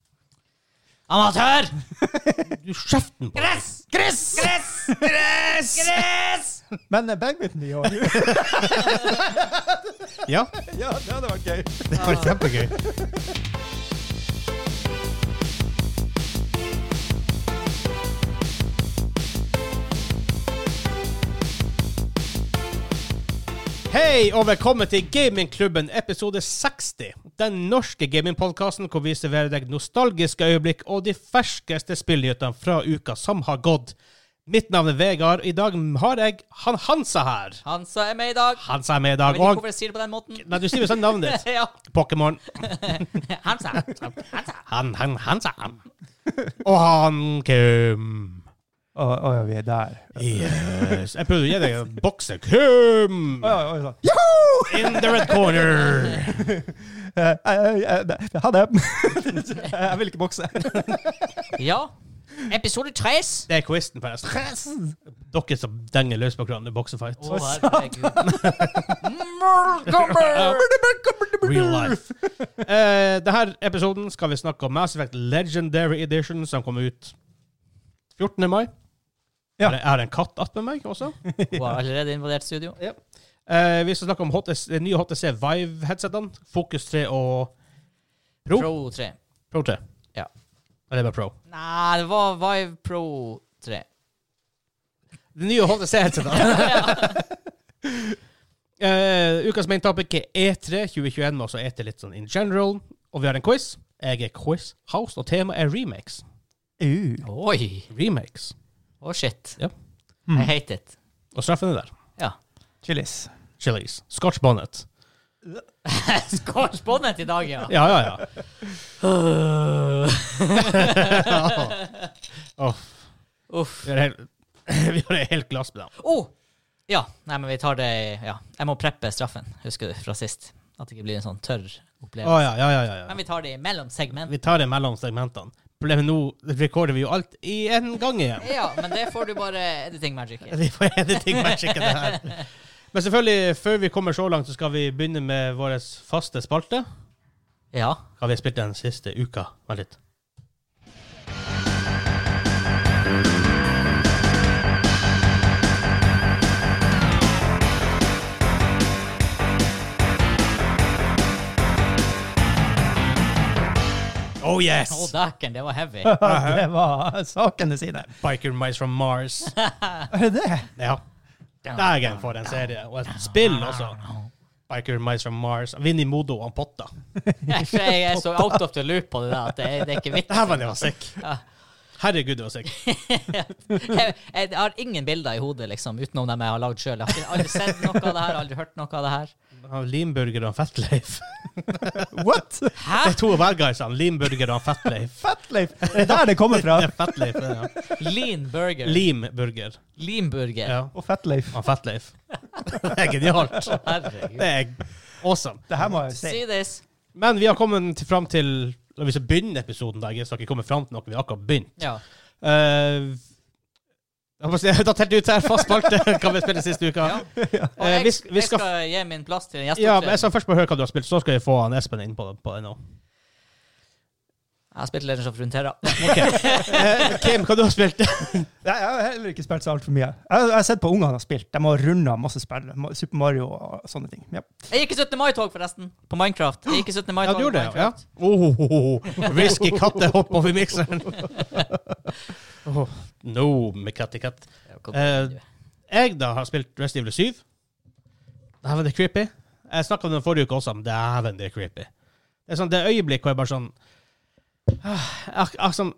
Amatør! Du kjeften på Gress! Gress! Gress! Gress! Gress! Men eh, badminton i år Ja, Ja, det hadde vært gøy. det var kjempegøy. Hei og velkommen til Gamingklubben episode 60. Den norske gamingpodkasten hvor vi serverer deg nostalgiske øyeblikk og de ferskeste spillnyhetene fra uka som har gått. Mitt navn er Vegard. I dag har jeg Han Hansa her. Hansa er med i dag. Hansa er med i Jeg dag. vet ikke Og hvorfor jeg sier det på den måten. Nei, du sier jo sånn navnet ditt. ja. Pokémon. Hansa. Hansa. Han, han, han sa han. Og han Kim. Å, å ja, vi er der. Yes. Jeg prøvde å gi deg en bokse. Kim! Å, ja, å, ja, sånn. Ja! In the red corner. Eh, eh, eh, eh, Ha det. Jeg vil ikke bokse. Ja. Episode 3. Det er quizen, forresten. Dere som denger løs på hverandre i boksefight. Å, herregud. Montgomery. Real life. Eh, denne episoden skal vi snakke om Mass Effect Legendary Edition, som kom ut 14. mai. Ja. Jeg har en katt attmed meg også. Var allerede invadert studio. Eh, vi skal snakke om HTC, de nye HTC Vive-headsetene. Focus 3 og Pro. Pro, Pro 3. 3. Ja. Eller bare Pro. Nei, det var Vive Pro 3. De nye HTC-headsetene. eh, ukas main topic er E3 2021, men også E3 litt sånn in general. Og vi har en quiz. Jeg er quiz house, og temaet er remakes. Uh. Oi. Remakes. Å, shit. Ja. I hate it. Og straffen er der. Ja. Chilis. Chilis. Scotch bonnet. Skorrespondet i dag, ja. Ja, ja, ja. Åh, Uff. vi har helt- vi har et helt glass med dem. Oh! Ja. Nei, men vi tar det i- Ja. Jeg må preppe straffen, husker du, fra sist. At det ikke blir en sånn tørr Å opplevelse. ja, ja, ja, ja, ja. Men vi tar det i mellom segment. Vi tar det mellom segmentene. Problemet nå rekorder vi jo alt i en gang igjen. Ja, men det får du bare editing magic i. Vi får editing matche det her. Men selvfølgelig, før vi kommer så langt, så skal vi begynne med vår faste spalte. Ja. Hva vi har spilt den siste uka. Vent litt. Oh yes! Å, dæken, det var heavy. Det var sakene sine. Biker Mice from Mars. Er det det? Ja. Dagen for en serie, og et spill også. Biker Mice from Mars. Vinni Modo og Potta. Jeg, jeg er så out of the loop på det der at det, er- det er ikke Det vits. her var det var sick. Herregud, det var sick. Jeg, jeg har ingen bilder i hodet, liksom, utenom dem jeg har lagd sjøl. Jeg har ikke- aldri sett noe av det her, aldri hørt noe av det her. Han Limburger og Fettleif. What? Det Hæ? er to av hver guysene. Limburger og Fettleif. Fettleif. Det er der det kommer fra. Det er Fettleif, det, ja. Lean burger. Limburger. Limburger. Ja. Og Fettleif. Og Fettleif. Det er genialt. Herregud. Det er awesome. Det her må jeg si. See this. Men vi har kommet til- fram til Når vi skal begynne episoden, da, jeg skal ikke komme fram til noe vi har akkurat begynt. Ja. Eh, jeg må si, da telte jeg ut her fast spalte. Hva vi spilte siste uka. Ja. Og Eh, jeg, vi sk- vi jeg skal- skal gi min plass til en Ja, men jeg gjesteopptreden. skal først bare høre hva du har spilt, så skal vi få han Espen inn på, på det nå. Jeg har spilt Legends of Runeterra. Ok. Eh, Kim, hva du har spilt? Nei, Jeg har heller ikke spilt så altfor mye. Jeg jeg har sett på ungene har spilt. De har runda masse spill. Ma- Super Mario og sånne ting. Ja. Jeg gikk i 17. mai-tog, forresten. På Minecraft. Jeg gikk i 17. mai-tog Ja, du gjorde det, på ja. Minecraft. Oh, oh, oh, oh. Risky kattehopp over mikseren. oh, no, med katt i katt. Ja, kom Eh, igjen, Jeg da har spilt Rest Evil 7. Dæven, det er creepy. Jeg snakka om det forrige uke også, men dæven, det er creepy. Det er sånn, det øyeblikk hvor jeg bare sånn ah, ak- ak- sånn,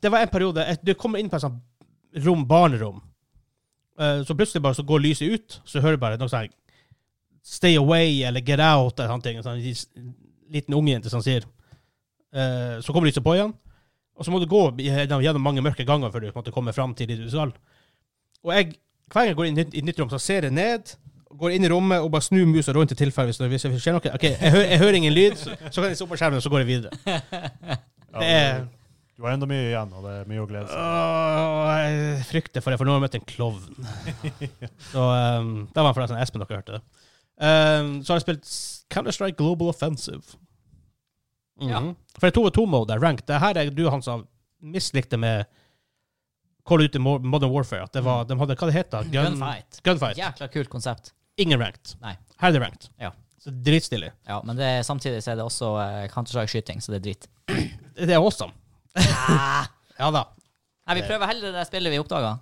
Det var en periode eh, Du kommer inn på et sånt rom, barnerom, Eh, så plutselig bare så går lyset ut, så hører du bare noe sånn Stay away eller get out eller sånne ting. En sånn lis- liten ungjente som sier Eh, Så kommer lyset på igjen, og så må du gå gjennom gjennom mange mørke ganger før du på en måte, kommer fram til ditt sal. Og jeg, hver gang jeg går inn i nytt- i nytt rom, så ser jeg ned, går inn i rommet og bare snur musa rundt i tilfelle hvis det hvis det skjer noe. Ok, jeg, hø jeg hører ingen lyd, så, så kan jeg se opp på skjermen, og så går jeg videre. Ja, Det er Du har enda mye igjen, og det er mye å glede seg til. Åh, jeg frykter for det, for nå har jeg møtt en klovn. Så um, Det var forresten Ehm, Espen dere hørte det. Um, så har jeg spilt Counter-Strike Global Offensive. Mhm. For det er 2-2-mode der, ranked. Det her er du, han, som mislikte med Call of Duty Mo- Modern Warfare. At det var, de hadde, hva det heter det? Gunfight. Gunfight. Jækla kult konsept. Ingen ranked. Nei. Her er det ranked. Ja. Så dritstilig. Ja, men det, samtidig så er det også eh, Counter-Strike-skyting, så det er dritt. Det er awesome. ja da. Nei, vi prøver heller det der spillet vi oppdaga,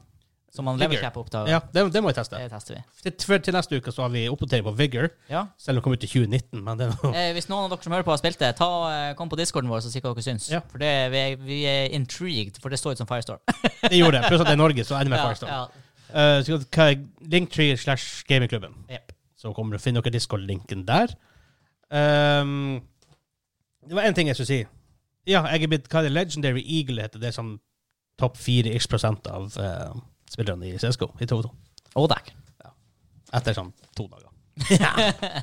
som han Vigor. Levercap oppdaga. Ja, det, det må jeg teste. Det tester vi. Til, for til neste uke så har vi oppdatering på Vigor, Ja. selv om det kom ut i 2019. Men det er noe. Eh, hvis noen av dere som hører på har spilt det, ta, eh, kom på discorden vår og si hva dere syns. Ja. For det, vi, er- vi er intrigued, for det står ut som Firestorm. det gjorde det. Pluss at det er Norge, så er det med Firestone. Ja, Eh, så hva er Linktree slash gamingklubben. ja. Jep. Så kommer du finne dere Discord-linken der. Ehm, det var én ting jeg skulle si. Ja, jeg er blitt hva er det Legendary Eagle heter. Det er sånn topp fire x prosent av eh, spillerne i CSGO i 2-2. Og der. Etter sånn to dager. ja.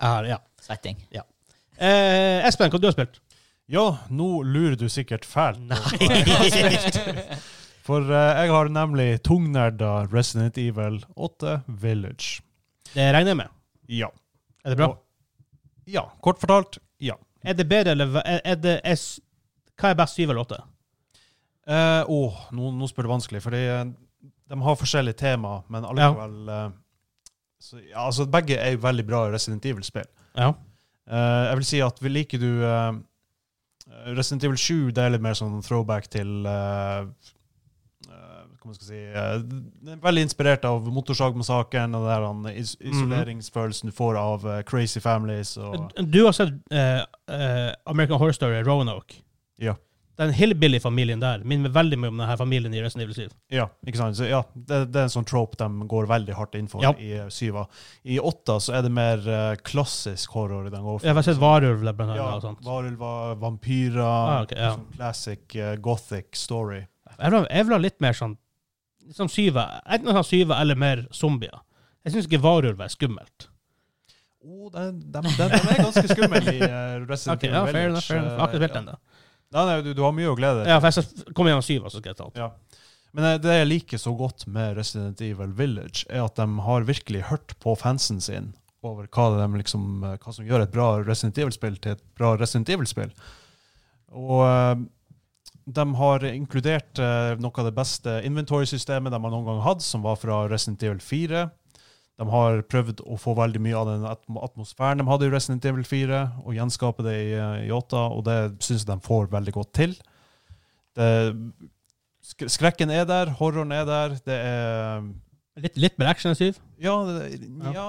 Jeg har- ja. Svetting. Eh, Espen, hva du har spilt? Ja, nå lurer du sikkert fælt. Nei! For eh, jeg har nemlig tungnerda Resident Evil 8 Village. det regner jeg med. Ja. Er det bra? Og- Ja, kort fortalt, ja. Er det bedre, eller hva- er, er det er, s- Hva er best, syv eller åtte? Eh, åh, nå, nå spør du vanskelig, fordi eh, de har forskjellige temaer, men allikevel eh, så, ja, altså, Begge er jo veldig bra Resident Evil-spill. Ja. Eh, jeg vil si at vi liker du eh, Resident Evil 7 det er litt mer sånn throwback til eh, eh, Hva man skal si eh, den er Veldig inspirert av motorsagmassakren og den der, eh, is Mhm. isoleringsfølelsen du får av eh, Crazy Families. Og, Du har sett eh, eh, American Horror Story, Roanoke. Ja. Den hillbilly-familien der minner meg veldig mye om denne familien i Resident Evil 7. ja, ikke sant? Så, ja, det, det er en sånn trope de går veldig hardt inn for Ja. i eh, syva. I åtta så er det mer eh, klassisk horror. de går for. Jeg har sett varulver blant annet. ja, og sånt. varulver, vampyrer Ah, ok, ja. sånn Classic eh, gothic story. Jeg vil ha- jeg vil ha litt mer sånn som syva. Enten sånn syva eller mer zombier. Jeg syns ikke varulver er skummelt. Oh, den, den, den, den er ganske skummel i eh, Resident Ok, Evil ja, fair enough, fair enough. Jeg har ikke Eh, spilt den, da. Nei, nei, du, du har mye å glede deg til. Ja, for jeg skal komme gjennom syva, så skal jeg ta den. Ja. Men eh, det jeg liker så godt med Resident Evil Village, er at de har virkelig hørt på fansen sin over hva, de liksom, eh, hva som gjør et bra Resident Evil-spill til et bra Resident Evil-spill. Og eh, de har inkludert eh, noe av det beste inventory-systemet de har noen gang hatt, som var fra Resident Evil 4. De har prøvd å få veldig mye av den atmo- atmosfæren de hadde i Resident Evil 4, og gjenskape det i, eh, i 8, og det syns jeg de får veldig godt til. Det, sk skrekken er der, horroren er der, det er Litt, litt mer action enn syv. Ja, det, Ja. ja.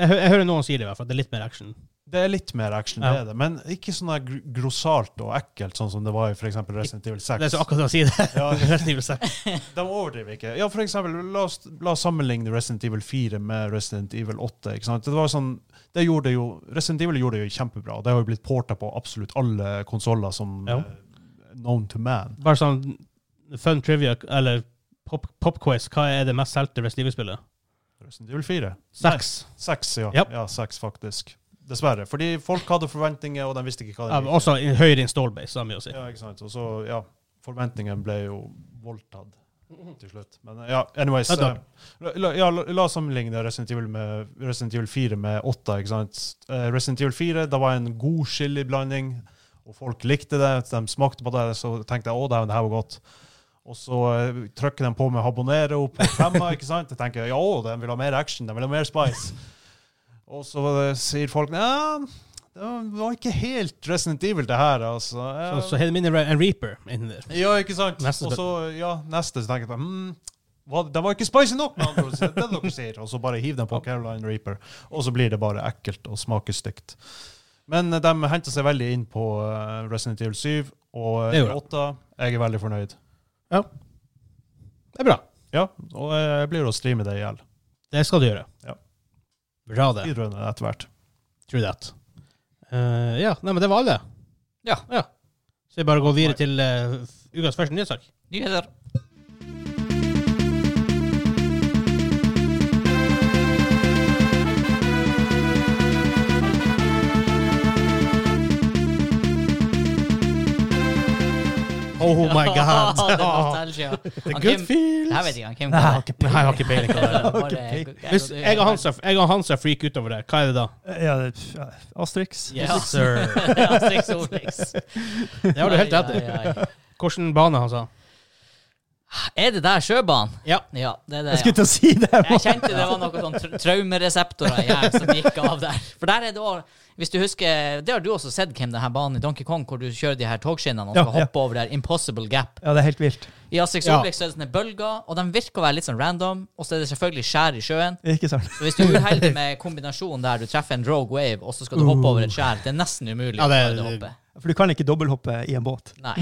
Jeg, hø- jeg hører noen si det, i hvert fall. at Det er litt mer action. Det er litt mer action, Ja. det er det. Men ikke sånn der gr grossalt og ekkelt, sånn som det var i for eksempel Resident Evil 6. Det er så akkurat som å si det. Ja. Resident Evil 6. De overdriver ikke. Ja, for eksempel, la oss, la oss sammenligne Resident Evil 4 med Resident Evil 8. Ikke sant? Det var sånn, det gjorde jo, Resident Evil gjorde det jo kjempebra. Det har jo blitt porta på absolutt alle konsoller som Ja. eh, known to man. Bare sånn fun trivia, eller pop, pop quiz. Hva er det mest solgte Resident Evil-spillet? Resident Evil 4. Seks. Seks, ja. Ja. Ja, seks faktisk. Dessverre. Fordi folk hadde forventninger, og de visste ikke hva de Ja, også i- høyere install base, har mye å si. Ja, ikke sant. Og så, ja, forventningene ble jo voldtatt til slutt. Men ja, anyways. Ja, da. eh, La, ja, la, la oss sammenligne Resident Evil, med, Resident Evil 4 med 8, ikke sant. Eh, Resident Evil 4, det var en god chiliblanding, og folk likte det, de smakte på det, så tenkte jeg, å, det, det her var godt. Og så eh, trykker de på med habanero på femma, ikke sant. Jeg tenker, ja, å, de vil ha mer action, de vil ha mer spice. Og så eh, sier folk, ja, det var ikke helt Resident Evil det her, altså. Så, Ja. så hele min er en reaper inni der. Ja, ikke sant? Neste og så, ja, neste så tenker jeg på hmm, hva- det var ikke spicy nok, med andre ord. så Det er det dere sier. Og så bare hiv den på Caroline Reaper, og så blir det bare ekkelt og smaker stygt. Men eh, de henter seg veldig inn på eh, Resident Evil 7 og Det eh, gjorde de. 8. Jeg er veldig fornøyd. Det er bra. Ja, og eh, jeg blir å streame det i hjel. Det skal du gjøre. Ja. Bra det. Vidrørende etter hvert. True that. Eh, ja, nei, men det var alle. Ja. Så vi bare går videre til eh, ukas første nyhetssak. Nyheter. Og Oh my god! det er nostalgia. The Han good Kim- feels! Det her vet jeg ikke. Han Kim Nei, jeg har ikke peiling. Nei, jeg Kardashian. har ikke peiling på det. Bare- Hvis jeg og Hans er- jeg og Hans er freak utover det, hva er det da? Ja, det- ja, Asterix. Ja. Yes, sir. Asterix og Obelix. Det har du helt rett i. Ai, ai, ai. Hvilken bane han sa? Er det der sjøbanen? Ja. ja det er det, Jeg ja. skulle til å si det. Jeg kjente det var noen sånn tra traumereseptorer i hjernen som gikk av der. For der er det også, hvis du husker, det har du også sett, Kim, den her banen i Donkey Kong, hvor du kjører de her togskinnene og Ja, skal ja. hoppe over der. Impossible gap. Ja, det er helt vilt. I Asterix Ja. og Obelix så er det sånne bølger, og de virker å være litt sånn random. Og så er det selvfølgelig skjær i sjøen. Ikke sant? Så hvis du er uheldig med kombinasjonen der du treffer en rogue wave, og så skal du hoppe over et skjær, det er nesten umulig Ja, å det- klare det hoppet. For du kan ikke dobbelthoppe i en båt. Nei.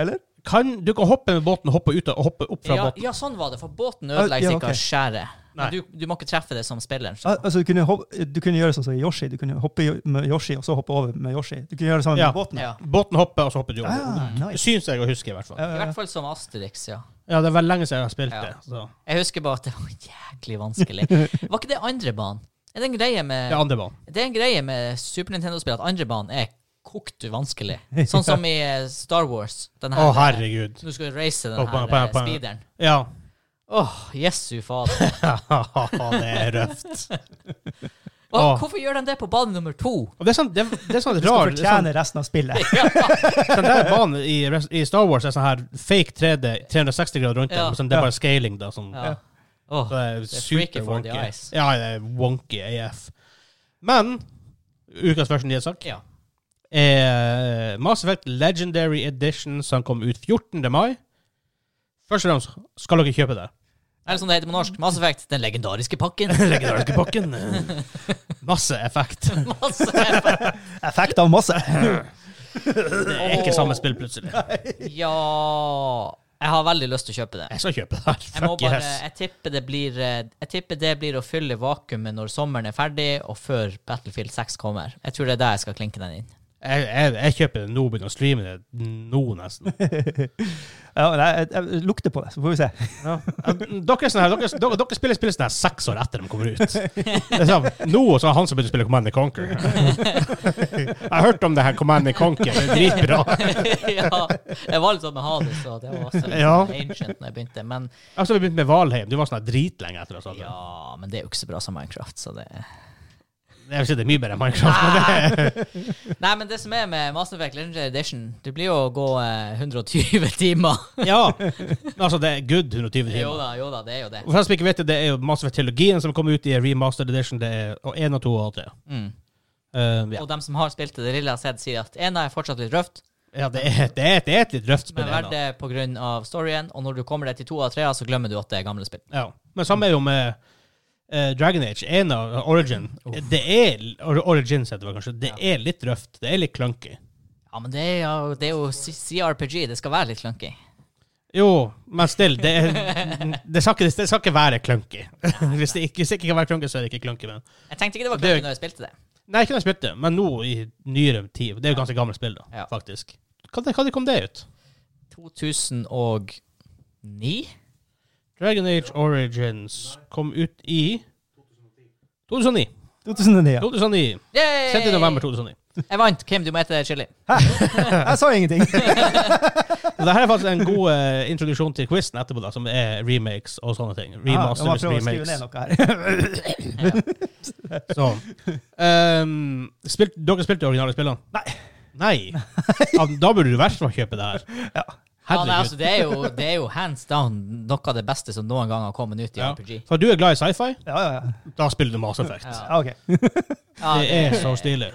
Eller? Kan, du kan hoppe med båten, hoppe ut og hoppe opp fra Ja, båten. ja, sånn var det, for båten Ja, ødelegger ikke ok. skjæret. Nei. Men du, du må ikke treffe det som spilleren. Al- Altså, du, kunne hoppe, du kunne gjøre sånn som Yoshi. Du kunne hoppe i- med Yoshi, og så hoppe over med Yoshi. Du kunne gjøre det sammen Ja. med båten. Ja. Båten hopper, og så hopper du over. Ah, Det nice. syns jeg å huske, i hvert fall. I Ja, ja, hvert fall som Asterix, ja. Ja, det er veldig lenge siden jeg har spilt Ja. det. Så. Jeg husker bare at det var jæklig vanskelig. Var ikke det andre banen? Er det en greie Det er med, andre banen. det er en greie med Super Nintendo-spill at andre banen er kokt vanskelig? Sånn som i eh, Star Wars. Den Å, her, eh, herregud. Du skal race den Å, her på- på- eh, på- speederen. Ja. Åh, jesu fader. det er røft. Hva, Åh. Hvorfor gjør de det på bane nummer to? Og det er sånn, det, er- det er sånn rar Du skal det er sånn, fortjene resten av spillet. Den der banen i, rest- i Star Wars er sånn her fake 3D, 360 grader rundt den, Ja. men sånn, det er Ja. bare scaling, da. Sånn. Ja. Så Åh, Det er er super freaky for wonky. the eyes. Ja, det er wonky AF. Men ukas version nyhetssak Ja. er Eh, Mass Effect Legendary Edition, som kom ut 14. mai. Først og fremst skal dere kjøpe det. Eller som det heter på norsk, Mass Effect, den legendariske pakken. Legendariske pakken. Masse effekt. Mass Effect. Effekt av masse. Det er ikke samme spill, plutselig. Ja Jeg har veldig lyst til å kjøpe det. Jeg skal kjøpe det her. Jeg, må Fuck bare, yes. jeg, tipper det blir, eh, jeg tipper det blir å fylle vakuumet når sommeren er ferdig, og før Battlefield 6 kommer. Jeg tror det er der jeg skal klinke den inn. Jeg, jeg, jeg kjøper det nå, begynner å streame det nå, nesten. Ja, nei, jeg, jeg lukter på det, så får vi se. Ja. Dere, er sånn her, dere, dere, dere spiller spill sånn her seks år etter de kommer ut. Det er sånn, nå så har han som begynte å spille Command and Conquer. Jeg har hørt om det her Command and Conquer. Det er dritbra. ja, jeg var litt sånn med Hades, og det var også litt Ja. sånn ancient når jeg begynte. Men Altså, vi begynte med Valheim. Du var sånn her dritlenge etter oss. alle. ja, men det er jo ikke så bra som Minecraft, så det Jeg vil si det er mye bedre enn Minecraft. Ah, Men det, Nei, men det som er med Mass Effect Legendary Edition, det blir jo å gå eh, 120 timer. ja. Men Altså, det er good 120 jo timer. da, jo da, det er jo det. Og for dem som ikke vet det, det er jo Mass Effect-teologien som kom ut i remastered edition. Det er og 1 og 2 og 3. Mm. Uh, ja. Og dem som har spilt det, det lille jeg har sett, sier at ena er fortsatt litt røft, ja, det er, det er, det er et litt røft spill. men verdt ennå. det pga. storyen, og når du kommer deg til to av trea, så glemmer du at det er gamle spill. Ja. Men samme er jo med eh, Dragon Age 1 og Origin. Det er or- Origins heter det kanskje. Det er litt røft. Det er litt clunky. Ja, men det er jo, det er jo C- CRPG. Det skal være litt clunky. Jo, men still, det, er, det, skal, ikke, det skal ikke være clunky. hvis, det ikke, hvis det ikke kan være clunky, så er det ikke clunky. Men. Jeg tenkte ikke det var Det er- clunky når jeg spilte det. Nei, ikke da jeg spilte, men nå i nyere tid. Det er jo ganske gammelt spill, da, Ja. faktisk. Hva, hva kom det ut? 2009? Dragon Age Origins kom ut i 2009. 2009. ja. 2009. Yay! 6. november 2009. Jeg vant. Kim, du må ete chili. Jeg sa ingenting. Og det her er faktisk en god eh, introduksjon til quizen etterpå, da, som er remakes og sånne ting. Ja, Remasters, Ah, jeg må prøve å skrive remakes. ned noe her. Så. Ehm, spilt, dere spilte de originale spillene? Nei. Nei? Ja, da burde du i hvert fall kjøpe det her. Ja. Ja, nei, altså, Herregud. det, er jo, det er jo hands down noe av det beste som noen gang har kommet ut i Ja. RPG. For du er glad i sci-fi? Ja, ja, ja. Da spiller du Mass Effect. Ja. ja ok. Ja, Det er så stilig.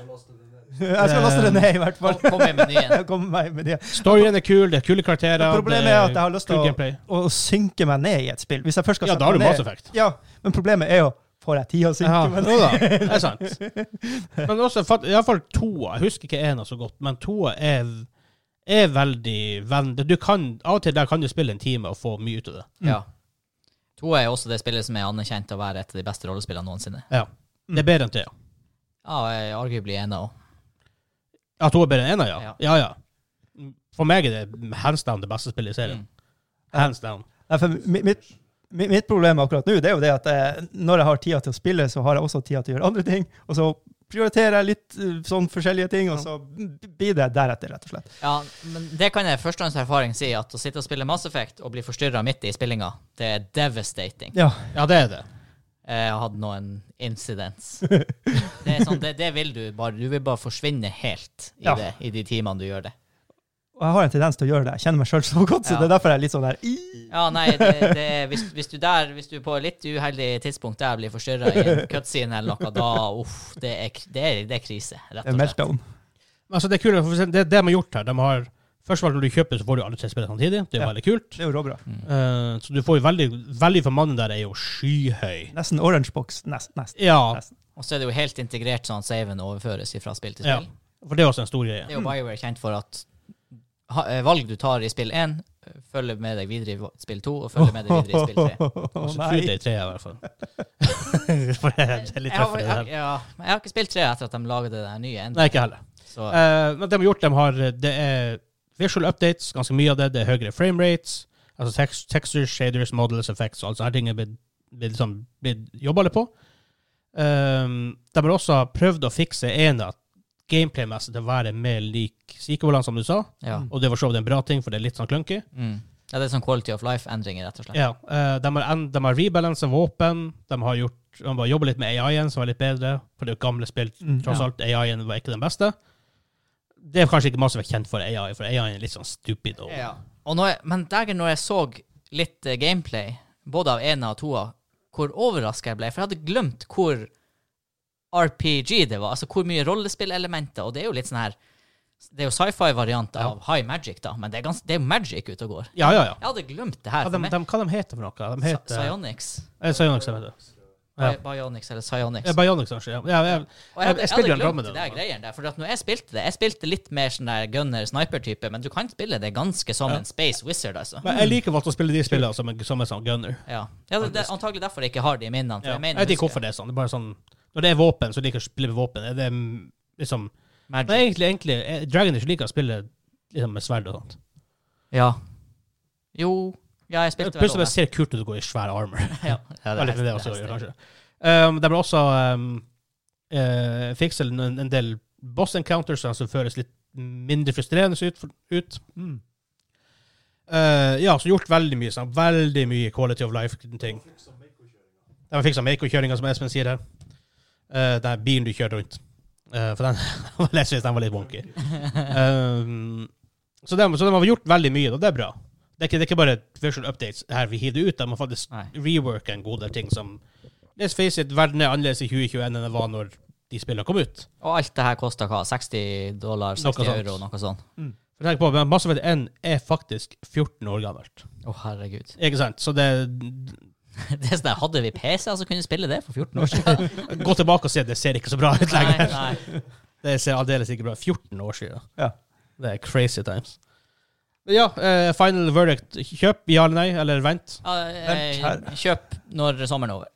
Jeg skal laste det ned, i hvert fall. Kom, kom i menyen. Jeg kommer meg med det. Storyen er kul, det er kule karakterer. Problemet det er at jeg har lyst til kul å, gameplay. å synke meg ned i et spill. Hvis jeg først skal Ja, sette da har du meg Mass ned- Effect. Ja, men problemet er jo Får jeg tid å synke Ja, meg ned? jo da, det er sant. Men også, fatt- i hvert fall toa. Jeg husker ikke ena så godt, men toa er, er veldig vennlig. Du kan, av og til der kan du spille en time og få mye ut av det. Ja. To er jo også det spillet som er anerkjent til å være et av de beste rollespillene noensinne. Ja. Det er bedre enn trea. Ja, og jeg er arguably ena òg. Ja, to er bedre enn ena, ja. Ja. ja. ja. For meg er det hands down det beste spillet i serien. Hands down. Nei, for mi- mitt, mi- mitt problem akkurat nå det er jo det at eh, når jeg har tida til å spille, så har jeg også tida til å gjøre andre ting. Og så prioriterer jeg litt eh, sånn forskjellige ting, og så b- blir det deretter, rett og slett. Ja, men det kan jeg førstehåndserfaring si, at å sitte og spille Mass Effect og bli forstyrra midt i spillinga, det er devastating. Ja. Ja, det er det. Jeg har hatt noen incidents. Det er sånn, det, det vil du bare. Du vil bare forsvinne helt i, Ja. det, i de timene du gjør det. Og jeg har en tendens til å gjøre det. Jeg kjenner meg sjøl så godt, så Ja. det er derfor jeg er litt sånn der i. Ja, nei, det, det, er- hvis, hvis du der, hvis du på litt uheldig tidspunkt der blir forstyrra i en cutscene eller noe, da uff, det er, kr- det er, det er krise, rett og slett. Meltdown. Men altså, det er kult, for eksempel, det er det de har gjort her. De har, først og fremst når du kjøper, så får du alle tre spillene samtidig. Det er jo Ja. veldig kult. Det er jo råbra. Eh, så du får jo veldig, veldig for mannen der er jo skyhøy. Nesten orange box. Nest, nest. Ja, Nesten. Og så er det jo helt integrert sånn at saven overføres fra spill til ja. spill. For det er også en stor greie. Det er jo BioWare kjent for at ha, eh, valg du tar i spill 1, følger med deg videre i va- spill 2, og følger med deg videre i spill 3. Å, Så tror jeg nei. det er tre, i hvert fall. for det er, det er litt Jeg har, tøffere. jeg, det her. ja, men jeg har ikke spilt 3 etter at de laget det der nye enden. Nei, ikke heller. Så Eh, men det de har gjort, de har Det er visual updates, ganske mye av det. Det er høyere frame rates. Altså text, textures, shaders, models, effects og alt sånne ting er blitt, blitt, liksom, blitt jobba litt på. Um, de har også prøvd å fikse en av gameplay-messig til å være mer lik sequelene, som du sa. ja. Og det var så vidt en bra ting, for det er litt sånn clunky. Mm. ja. Det er sånn quality of life-endringer, rett og slett. Ja, eh, de har, en- de har rebalansa våpen. De har gjort de har jobba litt med AI-en, som var litt bedre. For det er jo gamle spill. Mm, Tross alt, AI-en var ikke den beste. Det er kanskje ikke masse som er kjent for AI, for AI-en er litt sånn stupid. Og, Ja. Og når jeg, men dægen, når jeg så litt eh, gameplay, både av ena og toa, hvor overraska jeg ble, for jeg hadde glemt hvor RPG det var, altså hvor mye rollespillelementer, og det er jo litt sånn her Det er jo sci-fi-varianter av high magic, da, men det er, gans, det er jo magic ute og går. ja, ja. ja. Jeg hadde glemt det Hva, her. for de, meg. de, hva de heter de for noe? De Sa- heter Psionics. Eh, Psionics, jeg vet det. Ja. Bi- Bionics eller Psionics. Eh, Bionics, kanskje. Ja. Ja, ja. Og jeg hadde, jeg jeg spiller hadde en glemt Andromeda det der nå. greien der, for at når jeg spilte det Jeg spilte litt mer sånn der gunner-sniper-type, men du kan spille det ganske som Ja. en space wizard, altså. Men jeg liker valgt å spille de spillene som, en- som en sånn gunner. Ja. ja det, det er antagelig derfor jeg ikke har det i minnene. For Ja. jeg, Jeg mener, vet ikke husker hvorfor det er sånn. Det er bare sånn når det er våpen, så liker jeg å spille med våpen. Det er mm, liksom Magic. Men egentlig, egentlig eh, Dragonage liker å spille liksom, med sverd og sånt. Ja. Jo Ja, jeg spilte vel Eh, Plutselig bare ser det kult ut å gå i svær armor. Ja. Det er litt det også, hest- gjør, kanskje. Um, det ble også um, eh, fikset en, en del boss encounters som altså, føles litt mindre frustrerende ut. For, ut. Mm. Eh, ja, så gjort veldig mye sånn. Veldig mye quality of life-ting. De fiksa Meiko-kjøringa, som Espen sier her. Eh, den bilen du kjører rundt. Eh, for den, jeg synes den var litt wonky. Um, så, de, så de har gjort veldig mye, og det er bra. Det er ikke, det er ikke bare visual updates her vi hiver det ut. De har faktisk Nei. reworka en god del ting som Let's face it, verden er annerledes i 2021 enn den var når de spillene kom ut. Og alt det her kosta hva? 60 dollar, 60 sånt. euro, noe sånt? For tenk på, men Mass Effect 1 er faktisk 14 år gammelt. Å, herregud. Ikke sant? Så det Det er sånn der, Hadde vi PC, altså kunne vi spille det for 14 år siden? Gå tilbake og se, det ser ikke så bra ut nei, lenger. nei. Det ser aldeles ikke bra 14 år siden. Ja. Det er crazy times. Men ja, eh, final verdict. Kjøp, ja eller nei, eller vent. Ja, eh, kjøp når sommeren er over.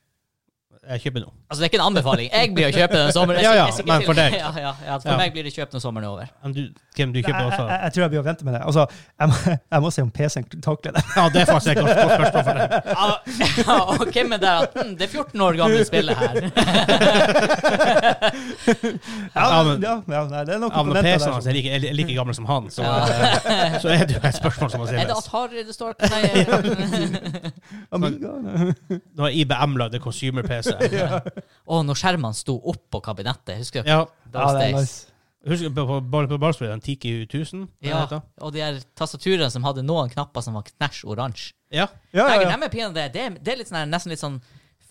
Jeg kjøper nå. Altså, det er ikke en anbefaling. Jeg blir å kjøpe den sommeren. Ja, ja, Jeg sier men for deg. Ja, ja, ja, for Ja. meg blir det kjøpt når sommeren er over. Men du, hvem du Jeg, kjøper jeg, også? jeg tror jeg blir å vente med det. Altså, jeg, må- jeg må se om PC-en takler det. Ja, det er faktisk et godt godt spørsmål for deg. Ja, ja, og hvem er der at hm, Det er 14 år gamle spillet her. Ja, Ja, men, men- ja, ja, nei, Ja, det er noen men PC-en komponenter der. sånn. hans som- er like, er like gammel som han, så, Ja. eh, så er det jo et spørsmål som må Er det stilles. Atari det står på? Nei. Amiga, Nå er IBM lagd en consumer-PC. Å, når skjermene sto opp på kabinettet, husker du? Ja. Ja, Those det er days. nice. Husker du på, på, på, på Barspillet, den Tiki 1000? den Ja, heter? og de her tastaturene som hadde noen knapper som var knæsj oransje. ja. Ja, Nei, ja, ja. dem er pinadø- Det, er- det er litt sånn, her- nesten litt sånn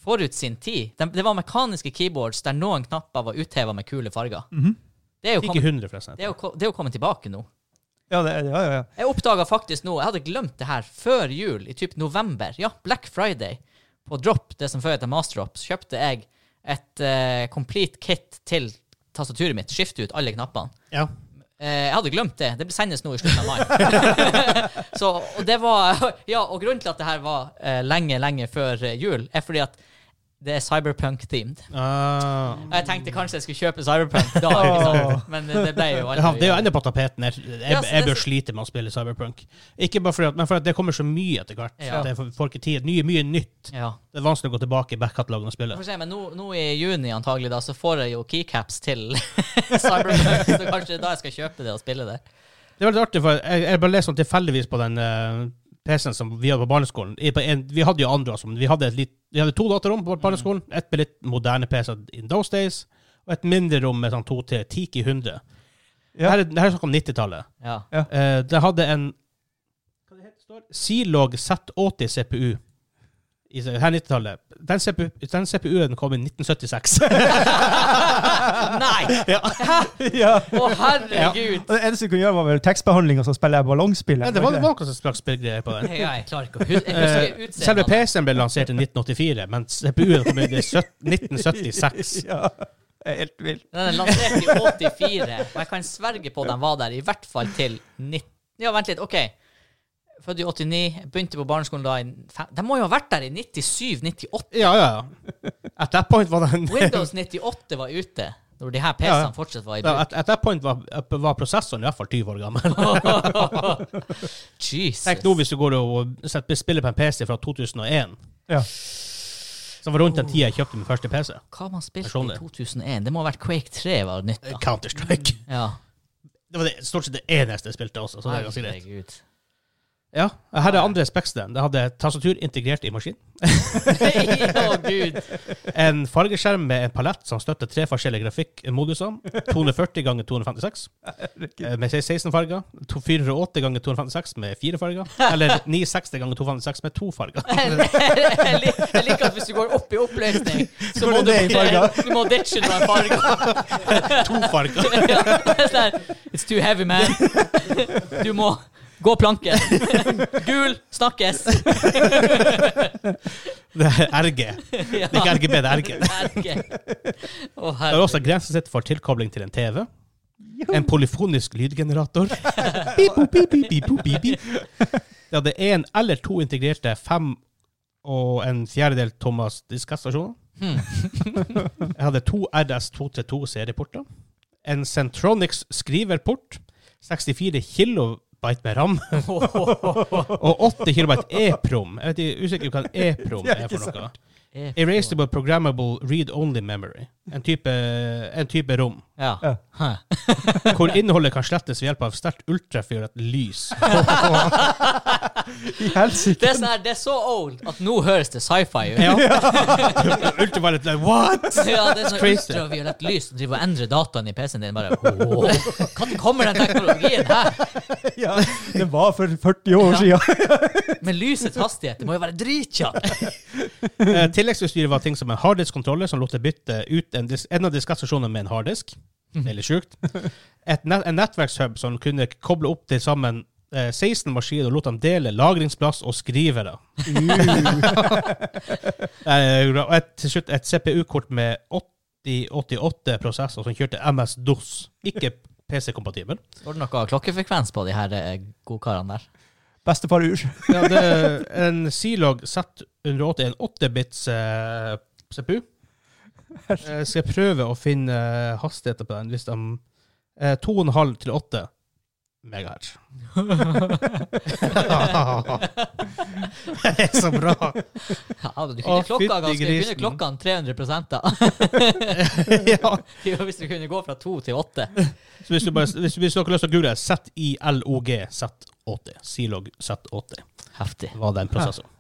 forut sin tid. Dem- det var mekaniske keyboards der noen knapper var utheva med kule farger. Mhm. det, er jo Tiki kommet, 100, forresten. det, er jo, ko- det er jo kommet tilbake nå. Ja, det, er- ja, ja, ja. Jeg oppdaga faktisk nå, jeg hadde glemt det her før jul, i typ november, ja, Black Friday, på Drop, det som før het Masterdrop, så kjøpte jeg et eh, complete kit til tastaturet mitt. Skifte ut alle knappene. Ja. Eh, jeg hadde glemt det. Det ble sendes nå i slutten av mai. så, og det var, ja, og grunnen til at det her var eh, lenge, lenge før eh, jul, er fordi at det er Cyberpunk-themed. Ah. Jeg tenkte kanskje jeg skulle kjøpe Cyberpunk da, ikke sant? men det ble jo Ja, det er jo aldri ennå på tapeten. her. Jeg, Ja, jeg, så jeg det- bør slite med å spille Cyberpunk. Ikke bare fordi at, men fordi at det kommer så mye etter hvert. Ja. at Det får ikke tid. Mye, mye nytt. ja. Det er vanskelig å gå tilbake i backkatalogen og spille. Får se, men nå, nå i juni antagelig da, så får jeg jo keycaps til Cyberpunk, så kanskje da jeg skal kjøpe det og spille det. Det er veldig artig, for jeg, jeg bare leste sånn tilfeldigvis på den eh, PC-en som vi hadde på barneskolen. I- på en- Vi hadde jo andre også, men vi hadde, et litt, vi hadde to datarom på barneskolen. Et med litt moderne PC in those days, og et mindre rom med sånn to til Tiki 100. Ja. Her, er- her er snakk om 90-tallet. Ja. Eh, det hadde en hva det heter, står? Zilog Z80 CPU i se- her 90-tallet. Den, CPU, den CPU-en kom i 1976. Nei! Ja. ja. Å, herregud! Og det eneste du kunne gjøre, var vel tekstbehandling, og så spiller jeg ballongspillet. Ja, det var, det var noen slags spillgreier på den. Hei, jeg klarer ikke å huske jeg Eh, selve husker utseendet. PC-en ble lansert i 1984, men CPU-en kom i sytt- 1976. Ja, det er helt vilt. Den er lansert i 84, og jeg kan sverge på at den var der i hvert fall til 19... Ja, vent litt, OK. Født i 89, begynte på barneskolen da i fem... De må jo ha vært der i 97-98? Ja, ja, ja. At that point var den Windows 98 var ute, når de her PC-ene Ja, ja. fortsatt var i Ja, bruk. at, at that point var, var prosessoren i hvert fall 20 år gammel. Jesus. Tenk nå hvis du går og setter spiller på en PC fra 2001, Ja. som var rundt den tida jeg kjøpte min første PC. Hva man spilte i Personlig. 2001? Det må ha vært Quake 3 var nytt, da. Counter-Strike. Ja. Det var det, stort sett det eneste jeg spilte også, så det er ganske greit. Herregud. Ja, jeg hadde andre specs til den. Jeg hadde tastatur integrert i maskin, Å, gud. en fargeskjerm med en palett som støtter tre forskjellige grafikkmoduser, 240 ganger 256 eh, med 16 farger, to- 480 ganger 256 med fire farger, eller 960 ganger 256 med to farger. Jeg lik- jeg liker at hvis du går opp i oppløsning, så går må det du, ned i farger. du må ditche noen farger. To farger! Ja, det er sånn her, It's too heavy, man. Du må gå planke. Gul snakkes. Det er RG. Det Ja. er ikke RGB, det er RG. Herregud. Å, Det er herregud. også grensesett for tilkobling til en TV. En polyfonisk lydgenerator. Beep, boop, beep, beep, beep, boop, beep, beep. Det hadde én eller to integrerte fem og en fjerdedel Thomas diskastasjoner. Hmm. Jeg hadde to RS232 serieporter. En Centronics skriverport. 64 kilobyte med ram. Og 8 kilobyte EPROM. Jeg vet ikke- usikker på hva en EPROM Det er er ikke for noe. sant. Erasable Programmable Read-Only Memory. En type, en type rom Ja. Ja. Hæ. hvor innholdet kan slettes ved hjelp av sterkt ultrafioret lys. I helsike. Det er, sånn her, det er så old at nå høres det sci-fi ut. Ja. Ultraviolet like, What?! Ja, det er sånn Crazy. ultraviolett lys som driver og endrer dataene i PC-en din. Bare, «Åh, Når kommer den teknologien her? Ja, det var for 40 år siden. Med lysets hastighet, det må jo være dritkjapt. Eh, tilleggsutstyret var ting som en harddisk-kontroller som lot deg bytte ut en, dis en av diskastasjonene med en harddisk. Veldig sjukt. Et net en nettverkshub som kunne koble opp til sammen eh, 16 maskiner og lot dem dele lagringsplass og skrivere. Eh, og et, til slutt et CPU-kort med 8088 prosesser som kjørte MS-DOS. Ikke PC-kompatibel. Står det noe klokkefrekvens på de her eh, godkarene der? Bestefar Ur. Ja, det er en Zilog Z180 en 8-bits eh, CPU. Eh, skal jeg prøve å finne eh, hastigheten på den, hvis de eh, 2,5 til 8 megahertz. det er så bra! Ja, du Å, kunne klokka fytti ganske, du kunne grisen. klokkene 300 da. ja. Det var Hvis du kunne gå fra to til åtte. Så hvis, du bare, hvis, hvis dere har lyst til å google ZILOG Z80, Zilog Z80, Heftig. var den prosessoren.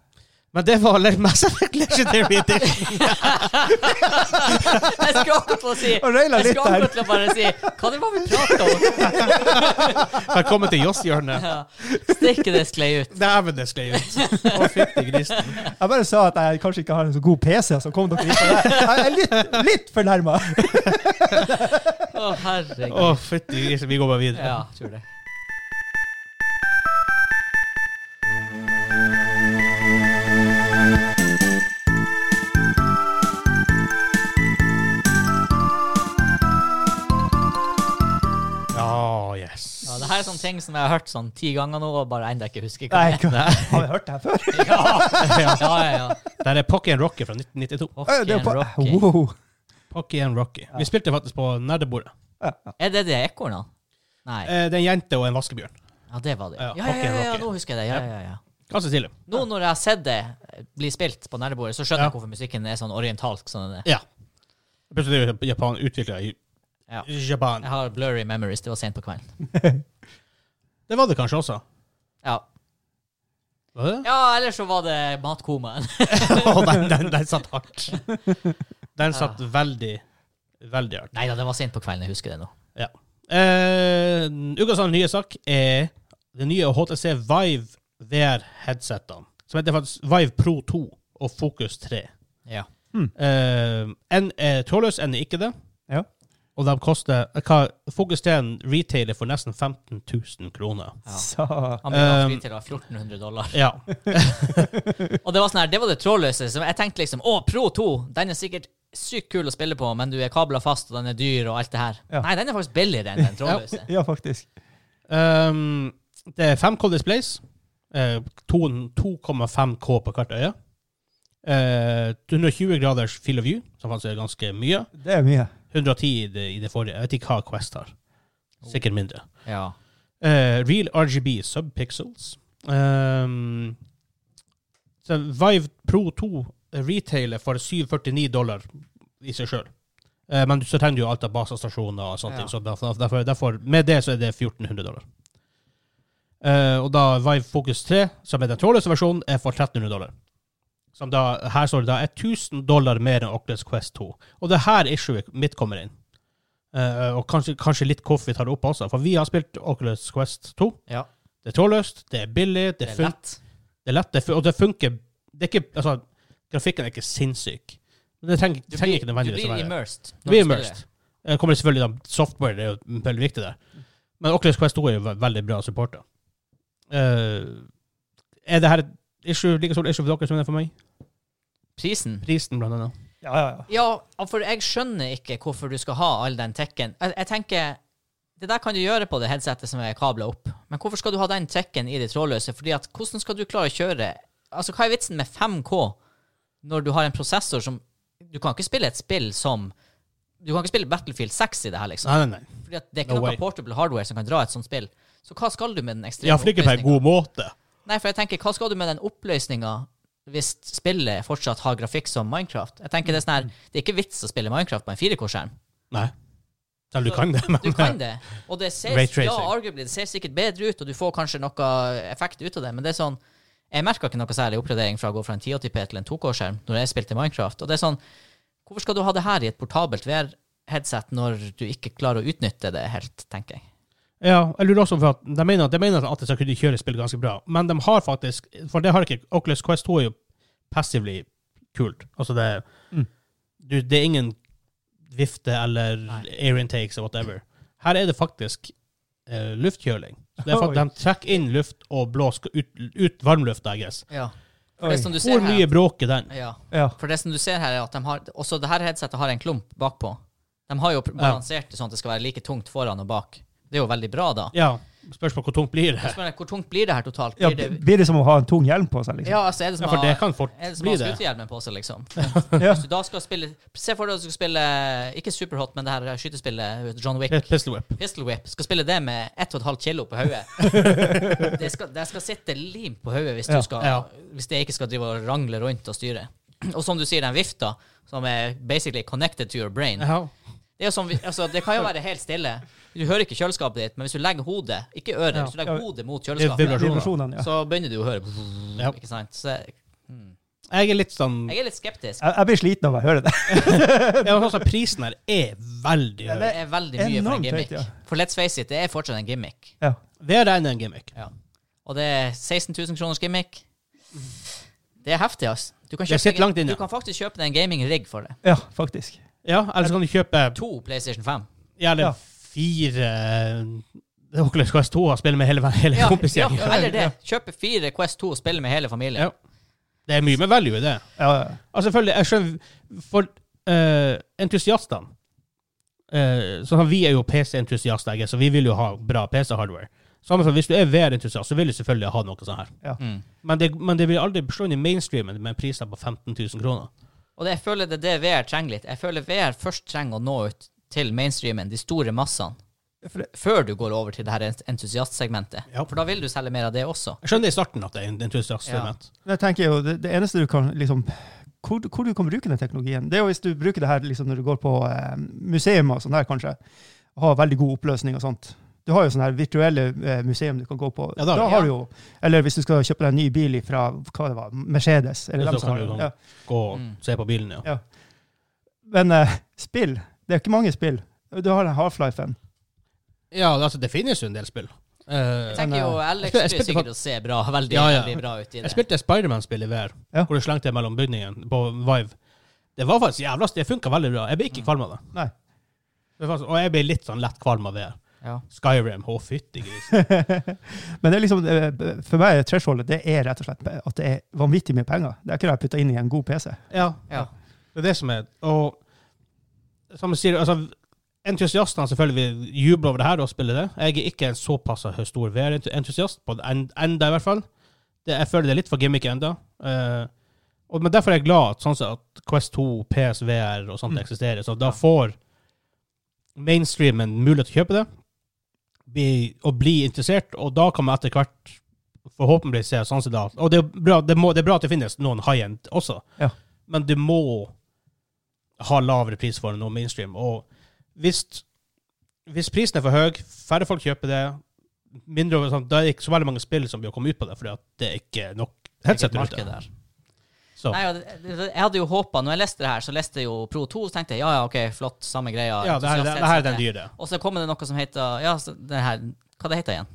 Men det var Mass Effect Legendary Edition. Jeg skulle akkurat til å si Og røyla Jeg litt skulle der. akkurat til å bare si Hva det var vi pratet om? Velkommen til Joss-hjørnet. Ja. Stikke det sklei ut. Dæven, det sklei ut. Å, fytti grisen. Jeg bare sa at jeg kanskje ikke har en så god PC, så kom dere inn på det. Jeg er litt, litt fornærma. Å, herregud. Å, fytti grisen. Vi går bare videre. Ja, tror det. Ja, yes. Ja, det her er sånne ting som jeg har hørt sånn ti ganger nå, og bare ennå ikke husker hva Nei, det er. hva- har vi hørt det her før? Ja, ja, ja. Der er Pocky and Rocky fra 1992. Eh, det er Fucking på- Rocky. Wow. Pocky and Rocky. Vi spilte faktisk på nerdebordet. Ja, ja. Er det det ekornet? Nei. Eh, det er en jente og en vaskebjørn. Ja, det var det. Ja, Ja, ja, Rocky ja, and ja, Rocky. nå husker jeg det. Ja, ja, ja. Ganske stilig. Nå når jeg har sett det eh, bli spilt på nerdebordet, så skjønner Ja. jeg hvorfor musikken er sånn orientalsk som den er. Ja. Plutselig er jo Japan utvikla i Ja. Japan. Jeg har blurry memories. Det var sent på kvelden. Det var det kanskje også. Ja, Var det? ja eller så var det matkomaen. Å, den, den, den satt hardt. Den satt veldig, veldig hardt. Nei da, det var sent på kvelden. Jeg husker det nå. Eh, Ukas andre nye sak er det nye HTC Vive VR-headsetene. Som heter faktisk Vive Pro 2 og Focus 3. Ja. Eh, en er trådløs, en er ikke det. Ja. Og de koster eh, hva, Focus 3 retailer for nesten 15 000 kroner. ja. Så Han ble da Um, fri til da 1400 dollar. Ja. Og det var sånn her, det var det trådløse. Som jeg tenkte liksom Å, Pro 2! Den er sikkert sykt kul å spille på, men du er kabla fast, og den er dyr, og alt det her. Ja. Nei, den er faktisk billigere enn den trådløse. Ja, faktisk. Ehm, det er 5K displays. eh, to- 2,5K på hvert øye. Eh, 220 graders field of view, som faktisk er ganske mye. Det er mye. 110 i det, i det forrige. Jeg vet ikke hva Quest har. Sikkert mindre. Ja. Eh, Real RGB subpixels. Ehm, så Vive Pro 2 retailer for 749 dollar i seg sjøl. men så trenger du jo alt av basestasjoner og sånne Ja. ting. Så derfor, derfor, derfor, med det så er det 1400 dollar. Eh, og da Vive Focus 3, som er den trådløse versjonen, er for 1300 dollar. Som da, her står det da er 1000 dollar mer enn Oculus Quest 2. Og det er her issuet mitt kommer inn. Eh, og kanskje, kanskje litt hvorfor vi tar det opp også. For vi har spilt Oculus Quest 2. Ja. Det er trådløst, det er billig, det, Det er fun lett. det er lett, det fun og det funker det er ikke, altså, Grafikken er ikke sinnssyk. Men det trenger, Du trenger blir, ikke du nødvendigvis å blir være immersed. Du blir immersed. Eh, kommer det selvfølgelig da, Software det er jo veldig viktig der. Men Oculus Quest 2 er jo ve- veldig bra supporter. Eh, er det her et issue, like stort issue for dere som det er for meg? Prisen Prisen, blant annet. Ja, ja, ja. Ja, for jeg skjønner ikke hvorfor du skal ha all den tekken. Jeg, jeg tenker, det der kan du gjøre på det headsetet som er kabla opp, men hvorfor skal du ha den tekken i det trådløse? Fordi at hvordan skal du klare å kjøre Altså, hva er vitsen med 5K når du har en prosessor som Du kan ikke spille et spill som Du kan ikke spille Battlefield 6 i det her, liksom. Nei, nei, nei. Fordi at det er No ikke noe way. portable hardware som kan dra et sånt spill. Så hva skal du med den ekstreme Ja, for det er ikke på en oppløsningen? god måte. Nei, for jeg tenker, hva skal du med den oppløsninga hvis spillet fortsatt har grafikk som Minecraft? Jeg tenker Det er sånn her, det er ikke vits å spille Minecraft på en 4K-skjerm. Nei. Selv du kan det, men Du kan det. Og det ser, Ray tracing. ja, arguably, det ser sikkert bedre ut, og du får kanskje noe effekt ut av det, men det er sånn Jeg merka ikke noe særlig oppgradering fra å gå fra en 1080p til en 2K-skjerm når jeg spilte Minecraft. Og det er sånn Hvorfor skal du ha det her i et portabelt VR-headset når du ikke klarer å utnytte det helt, tenker jeg. Ja, jeg lurer også på at de mener, de mener at de skal kunne kjøre spill ganske bra, men de har faktisk For det har ikke Oculus Quest 2 er jo passively kult. Altså det Mm. du, Det er ingen vifte eller Nei. air intakes or whatever. Her er det faktisk eh, luftkjøling. Så det er for at Oi. de trekker inn luft og blåser ut, ut varmluft, I guess. Ja. For Oi. det sånn- som du Hvor ser mye her, bråker den? ja. Ja. For det som du ser her, er at de har Også det her headsetet har en klump bakpå. De har jo pr- balansert det sånn at det skal være like tungt foran og bak. Det er jo veldig bra, da. Ja, spørs på hvor tungt blir det. Jeg spør deg, Hvor tungt blir det her totalt? ja Blir blir det, blir det som å ha en tung hjelm på seg, liksom? ja, altså, er det Ja, som for det har kan fort er det som bli har det. skutehjelmen på seg, liksom? Ja. Hvis du da skal spille Se for deg at du skal spille ikke Superhot, men det her skytespillet eh, John Wick. Pistol whip. Pistol Whip. Skal spille det med 1,5 kilo på hodet. Det skal, det skal sitte lim på hodet hvis, du Ja. skal- Ja. hvis det ikke skal drive og rangle rundt og styre. Og som du sier, den vifta, som er basically connected to your brain Ja. Det, er jo som, vi- altså, det kan jo være helt stille. Du hører ikke kjøleskapet ditt, men hvis du legger hodet Ikke øret, Ja. hvis du legger Ja. hodet mot Det er kjøleskapet, vibrasjoner. Vibrasjonene, ja. så begynner du å høre Ja. Ikke sant? Så jeg- hmm. Jeg er litt sånn jeg er litt skeptisk. Jeg, jeg blir sliten av å høre det. ja, men altså, Prisen her er veldig høy. Det er veldig mye for en enormt gimmick. høyt, ja. For let's face it, det er fortsatt en gimmick. Ja. VR er en gimmick. Og det er 16 000 kroners gimmick. Det er heftig, ass. Du kan, Det kjøpe sitter deg- langt inne. du kan faktisk kjøpe deg en gaming-rigg for det. ja, faktisk. Ja, eller så kan du kjøpe To PlayStation 5. ja, eller Ja. fire eh, Oculus Quest 2 og spille med hele, hele Ja, ja, kompisgjengen. eller det. Kjøpe fire Quest 2 og spille med hele familien. Ja. Det er mye med value i det. Ja, ja. Og selvfølgelig, jeg skjønner For eh, entusiastene eh, Sånn som vi er jo PC-entusiaster, jeg, så vi vil jo ha bra PC-hardware. Samme som hvis du er VR-entusiast, så vil du selvfølgelig ha noe sånt her. Mm. Men det, men det vil aldri slå inn i mainstreamen med priser på 15 000 kroner. Og det, jeg føler det er det VR trenger litt. Jeg føler VR først trenger å nå ut til mainstreamen, de store massene, For det- før du går over til det her ent- entusiastsegmentet. Ja. For da vil du selge mer av det også. Jeg skjønner i starten at det er en entusiast. Ja. element. Jeg tenker jo, det, det eneste du kan liksom hvor, hvor du kan bruke den teknologien. Det er jo hvis du bruker det her liksom, når du går på eh, museum og sånn der, kanskje. Og har veldig god oppløsning og sånt. Du har jo sånne her virtuelle eh, museum du kan gå på. Ja, da da, har du- har du jo, Eller hvis du skal kjøpe deg en ny bil fra hva det var, Mercedes. Ja, Eller da dem som kan har, du sånn. ja. Gå og Mm. se på bilen, ja. Men eh, spill Det er ikke mange spill. Du har den Half-Lifen. Ja, altså, det finnes jo en del spill. Eh, Jeg tenker jo jeg Alex spil- jeg blir spilte sikkert å se bra, veldig, Ja, ja. veldig bra ut i jeg det. spilte et Spiderman-spill i VR, Ja. hvor du slengte mellom bygningen på Vive. Det var faktisk jævla Det funka veldig bra. Jeg ble Mm. ikke kvalm av det. Nei. Det var faktisk- Og jeg ble litt sånn lett kvalm av VR. Ja. Skyrim, å fytti gris. Men det er liksom, eh, for meg er thresholdet det er rett og slett at det er vanvittig mye penger. Det er ikke det jeg putter inn i en god PC. Ja. Ja. Det er det som er Og som jeg sier, altså Entusiastene selvfølgelig jubler over det her og spiller det. Jeg er ikke en såpass stor VR-entusiast, på det en- enda i hvert fall. Det, jeg føler det er litt for gimmick enda. Eh, og, men derfor er jeg glad at, sånn som at Quest 2, PSVR og sånt Mm. eksisterer. Så da får mainstreamen mulighet til å kjøpe det bli, og bli interessert, og da kan man etter hvert forhåpentligvis se sånn som da. Og det er, bra, det, må, det er bra at det finnes noen high-end også, Ja. men du må ha lavere pris for noe mainstream. Og hvis, hvis prisen er for høy, færre folk kjøper det, mindre, over- sånn, da er det ikke så veldig mange spill som blir å komme ut på det, fordi at det er ikke nok Sikkert headset ute. marked der. Så. Nei, ja, det- det- jeg hadde jo håpa Når jeg leste det her, så leste jeg jo Pro 2, så tenkte jeg ja, ja, OK, flott, samme greia. Ja, det her, det, det her er den dyre. Og så kommer det noe som heter Ja, så det her Hva det heter igjen?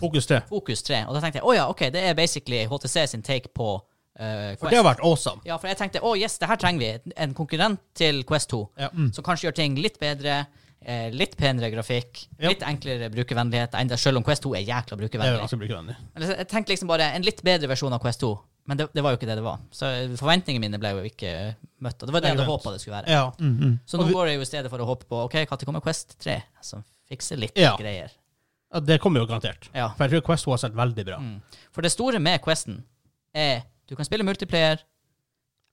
Fokus 3. Fokus 3. Og da tenkte jeg å ja, OK, det er basically HTC sin take på eh, For det har Quest. vært awesome. Ja, for jeg tenkte å yes, det her trenger vi. En konkurrent til Quest 2. Ja. mm. Som kanskje gjør ting litt bedre, eh, litt penere grafikk, Ja. litt enklere brukervennlighet, enda selv om Quest 2 er jækla Det er jo brukervennlig. ganske brukervennlig. Eller så- Jeg tenkte liksom bare en litt bedre versjon av Quest 2, men det, det var jo ikke det det var. Så eh, forventningene mine ble jo ikke eh, møtt, og det var det jeg hadde Nei, sant. håpa det skulle være. Ja. mm. Så Og nå vi- går jeg jo i stedet for å håpe på OK, når kommer Quest 3, som fikser litt Ja. greier. Ja, Det kommer jo garantert. Ja. For jeg tror Quest 2 har sett veldig bra. Mm. For det store med Questen er du kan spille multiplayer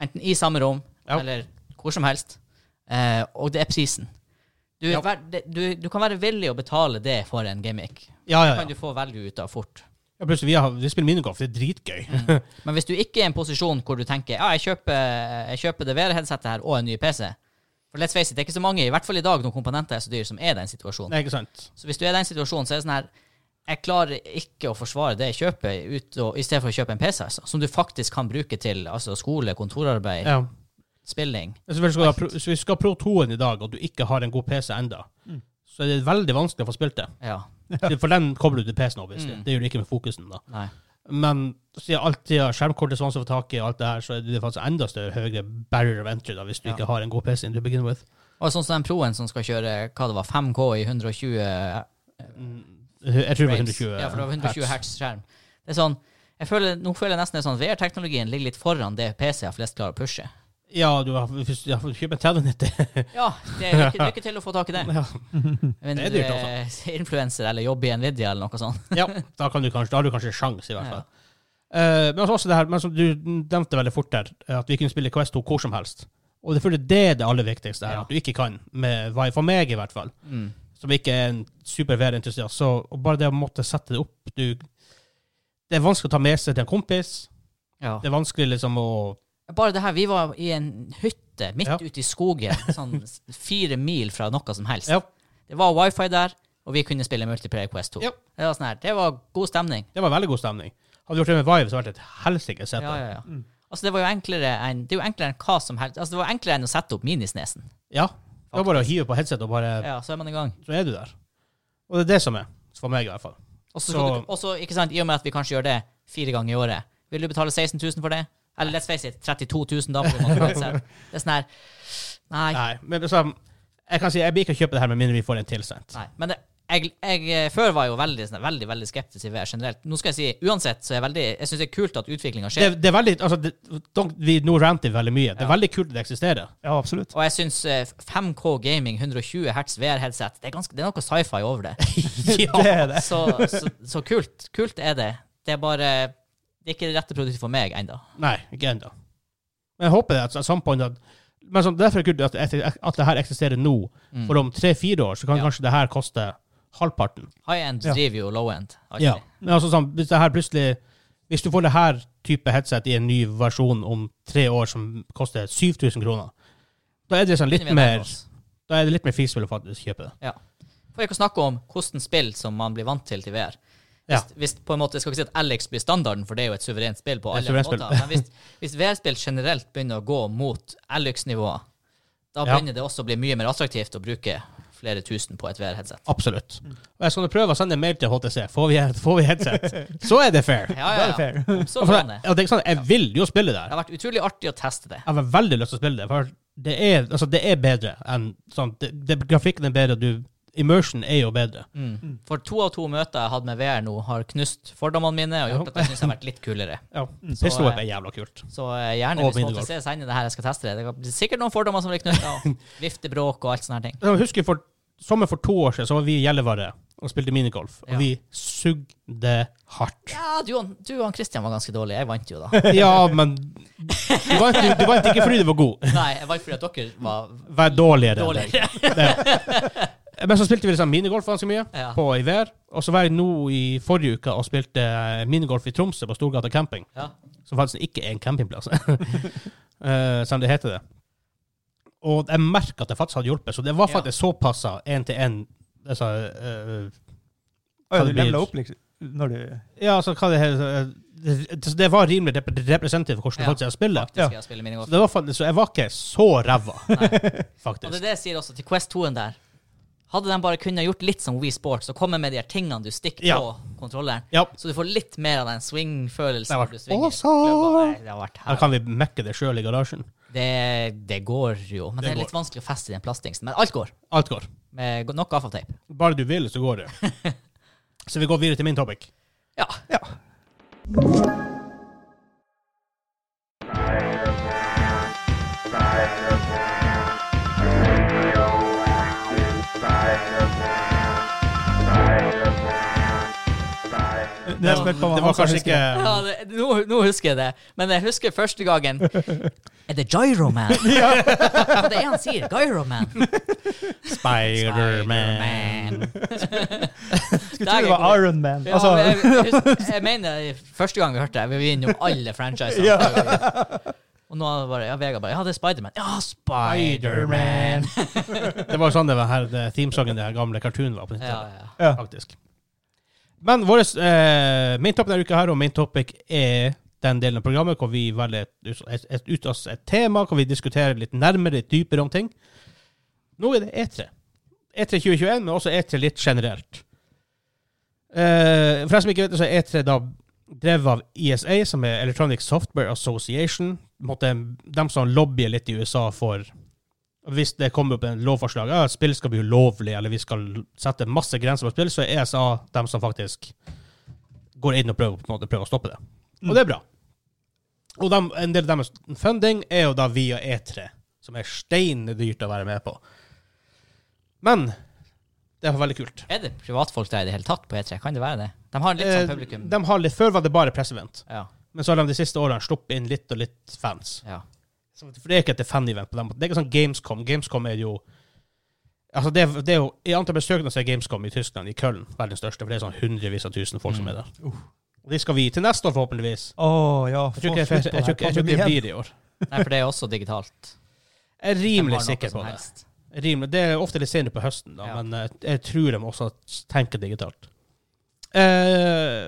enten i samme rom Ja. eller hvor som helst, eh, og det er prisen. Du, er Ja. ver- det- du, du kan være villig å betale det for en gimmick. Ja, ja, Det kan ja. du få value ut av fort. ja plutselig, vi, har, vi spiller minigolf, det er dritgøy. Men hvis du ikke er i en posisjon hvor du tenker ja, jeg kjøper, jeg kjøper det VR-headsetet her og en ny PC For let's face it, det er ikke så mange, i hvert fall i dag, når komponenter er så dyre, som er i den situasjonen. Nei, ikke sant? Så hvis du er i den situasjonen, så er det sånn her Jeg klarer ikke å forsvare det jeg kjøper, ut og, i stedet for å kjøpe en PC, altså, som du faktisk kan bruke til altså, skole, kontorarbeid, Ja. spilling. Hvis vi skal ha pro, hvis vi skal ha Pro 2-en i dag, og du ikke har en god PC enda, så er det veldig vanskelig å få spilt det. Ja. For den kobler du til PC-en, obviously. Mm. Det gjør du ikke med fokusen, da. Nei. Men siden alltid har skjermkortet sånn som får tak i, og alt det her, så er det faktisk enda større høyere barrier of entry da, hvis du Ja. ikke har en god PC to begin with. Og sånn som den proen som skal kjøre hva det var, 5K i 120 Mm, Jeg tror det var frames. 120 Ja, for det var 120 hertz. hertz skjerm. Det er sånn jeg føler, Nå føler jeg nesten det er sånn VR-teknologien ligger litt foran det PC-er flest klarer å pushe. Ja, du har, hvis du har kjøpt en 3090. Ja, det er lykke, lykke til å få tak i det. Ja. Men Det er du dyrt, altså. er influenser eller jobber i Nvidia eller noe sånt. ja, da, kan du kanskje, da har du kanskje sjans, i hvert Ja. fall. Eh, men også det her, men som du nevnte veldig fort der, at vi kunne spille Quest 2 hvor som helst. Og det føler jeg det er det aller viktigste her, Ja. at du ikke kan, med, Vive, for meg i hvert fall, Mm. som ikke er en super VR-entusiast. Så og bare det å måtte sette det opp du, Det er vanskelig å ta med seg til en kompis. Ja. Det er vanskelig liksom å Bare det her, vi var i en hytte midt Ja. ute i skogen, sånn s- fire mil fra noe som helst. Ja. Det var wifi der, og vi kunne spille multiplayer Quest 2. Ja. Det, var sånn her, det var god stemning. Det var veldig god stemning. Hadde du gjort det med Vive, så hadde det vært et helsikes Ja, sett. ja, ja. Altså, det var jo enklere enn Det er jo enklere enn hva som helst. Altså, det var enklere enn å sette opp Minisnesen. Ja. Det var bare å hive på headset, og bare Ja, så er man i gang. Så er du der. Og det er det som er. For meg, i hvert fall. Og så Så- skal du- og så, ikke sant, i og med at vi kanskje gjør det fire ganger i året, vil du betale 16 000 for det? Eller let's face it, 32 000 da? For man kan seg. det er sånn her Nei. Nei, men liksom, jeg kan si jeg blir ikke å kjøpe det her med mindre vi får en tilsendt. Nei, men det, jeg, jeg, eh, før var jeg jo veldig, sånn- veldig veldig skeptisk til VR generelt. Nå skal jeg si, uansett, så er jeg veldig, jeg syns det er kult at utviklinga Det, skjer. det er veldig altså, det, don't, Vi nå ranter vi veldig mye. Det er Ja. veldig kult at det eksisterer. Ja, absolutt. Og jeg syns 5K gaming, 120 hertz VR-headset, det, er ganske- det er noe sci-fi over det. Det er det. Så, så, så kult. Kult er det. Det er bare Det er ikke det rette produktet for meg ennå. Nei, ikke ennå. Men jeg håper det at at some point at men sånn, Derfor er det kult at, at, at det her eksisterer nå. Mm. For om tre-fire år så kan Ja. kanskje det her koste halvparten. High end Ja. driver jo low end. alltid. Ja. Men altså, sånn, hvis det her plutselig Hvis du får det her type headset i en ny versjon om tre år som koster 7000 kroner, da er det sånn litt Vi nærmer mer oss. Da er det litt mer feasible å faktisk kjøpe det. For ikke å snakke om hvordan spill som man blir vant til til VR. Ja. Hvis, hvis på en måte, Jeg skal ikke si at Alex blir standarden, for det er jo et suverent spill på Det er et alle suverent spill. måter. Men hvis, hvis VR-spill generelt begynner å gå mot Alex-nivået, da Ja. begynner det også å bli mye mer attraktivt å bruke flere tusen på et VR-headset. Absolutt. Mm. Og jeg skal nå prøve å sende en mail til HTC. Får vi, får vi headset, så er det fair. Ja, Da ja, er det ja. fair. Så Og for kan det. jeg, og det er ikke sant, jeg vil jo spille Det der. har vært utrolig artig å teste det. Jeg har veldig lyst til å spille det, for det er, altså, det er bedre enn sånn det, det, Grafikken er bedre, du Immersion er jo bedre. Mm. For to av to møter jeg hadde med VR nå, har knust fordommene mine og gjort at jeg syns det har vært litt kulere. Ja. Så, Pistol Whip eh, er jævla kult. Så eh, gjerne, Og hvis folk minigolf. ser sender det her, jeg skal teste det. Det blir sikkert noen fordommer som blir knytta. Viftebråk og alt sånne her ting. Jeg husker for sommer for to år siden så var vi i Gjellivare og spilte minigolf, og Ja. vi sugde hardt. Ja, du og, du og han Christian var ganske dårlig. Jeg vant jo, da. Ja, men du vant, du, du vant ikke fordi du var god. Nei, jeg vant fordi at dere var Vær dårligere enn deg. dårligere. Men så spilte vi liksom minigolf ganske mye Ja. på i VR. Og så var jeg nå i forrige uke og spilte eh, minigolf i Tromsø på Storgata camping, Ja. som faktisk ikke er en campingplass, Eh, som det heter det. Og jeg merka at det faktisk hadde hjulpet, så det var Ja. faktisk eh, såpassa én-til-én. Altså, eh, Ja, Kan du det bli- leveler opp liksom, når du ja, altså hva det heter eh, det, så det var rimelig rep representativt for hvordan Ja. folk ser spillet. Faktisk, jeg spiller minigolf. Så, det var faktisk, så jeg var ikke så ræva, Og det faktisk. er det jeg sier også til Quest 2-en der. Hadde de bare kunnet gjort litt som Wii Sports og komme med de her tingene du stikker Ja. på kontrolleren, Ja. så du får litt mer av den swing-følelsen. Det har vært når du svinger awesome. klubba. Nei, Det har vært Her kan vi mekke det sjøl i garasjen. Det, det går jo, men det, Det er litt vanskelig å feste i den plastingsen. Men alt går, Alt går. med go- nok gaffateip. Bare du vil, så går det. så vi går videre til min topic. Ja. Ja. Det jeg spilte på Det han var som kanskje husker ikke ja det, nå, nå husker jeg det, men jeg husker første gangen Er det Gyroman? ja. Det er han sier. Gyroman. Spider-Man. Skulle tro det var Iron Man. Ja, Altså, men jeg, jeg, husker- jeg mener i første gang vi hørte det, vi var innom alle franchisene. Og nå er det bare, ja, Vegard bare Ja, det er Spiderman. Ja, Spiderman! det var jo sånn det var her det themesongen den gamle cartoonen var på Ja, 90-tallet, ja. ja. faktisk. Men vår eh, main topic denne uka her, og main topic er den delen av programmet hvor vi velger et, et, et, ut oss et tema, hvor vi diskuterer litt nærmere, litt dypere om ting. Nå er det E E3. E3 2021, men også E3 litt generelt. Eh, for deg som ikke vet det, så er E3 da drevet av ESA, som er Electronic Software Association. På en måte, dem som lobbyer litt i USA for Hvis det kommer opp en lovforslag ja, spill skal bli ulovlig, eller vi skal sette masse grenser på spill, så er ESA dem som faktisk går inn og prøver, på en måte, prøver å stoppe det. Og det er bra. Og dem, en del av deres funding er jo da via E3, som er steindyrt å være med på. Men det er veldig kult. Er det privatfolk der i det hele tatt på E3? Kan det være det? De har litt sånn publikum. Eh, De har litt, før var det bare pressevent, Ja, men så har de de siste årene sluppet inn litt og litt fans. ja. Så- For det er ikke et fan-event på den måten. Det er ikke sånn Gamescom. Gamescom er jo Altså det, er- det er jo, I antall besøkende så er Gamescom i Tyskland, i Köln, verdens største. For det er sånn hundrevis av tusen folk som er der. Mm. Og de skal vi til neste år, forhåpentligvis. Å ja. Jeg tror ikke, jeg, jeg, jeg, tror ikke- jeg tror ikke det blir i år. Nei, for det er også digitalt. Jeg er De har rimelig noe sikker på som det. helst. Rimelig. Det er ofte litt senere på høsten, da, Ja. men eh, jeg tror de også tenker digitalt. Eh,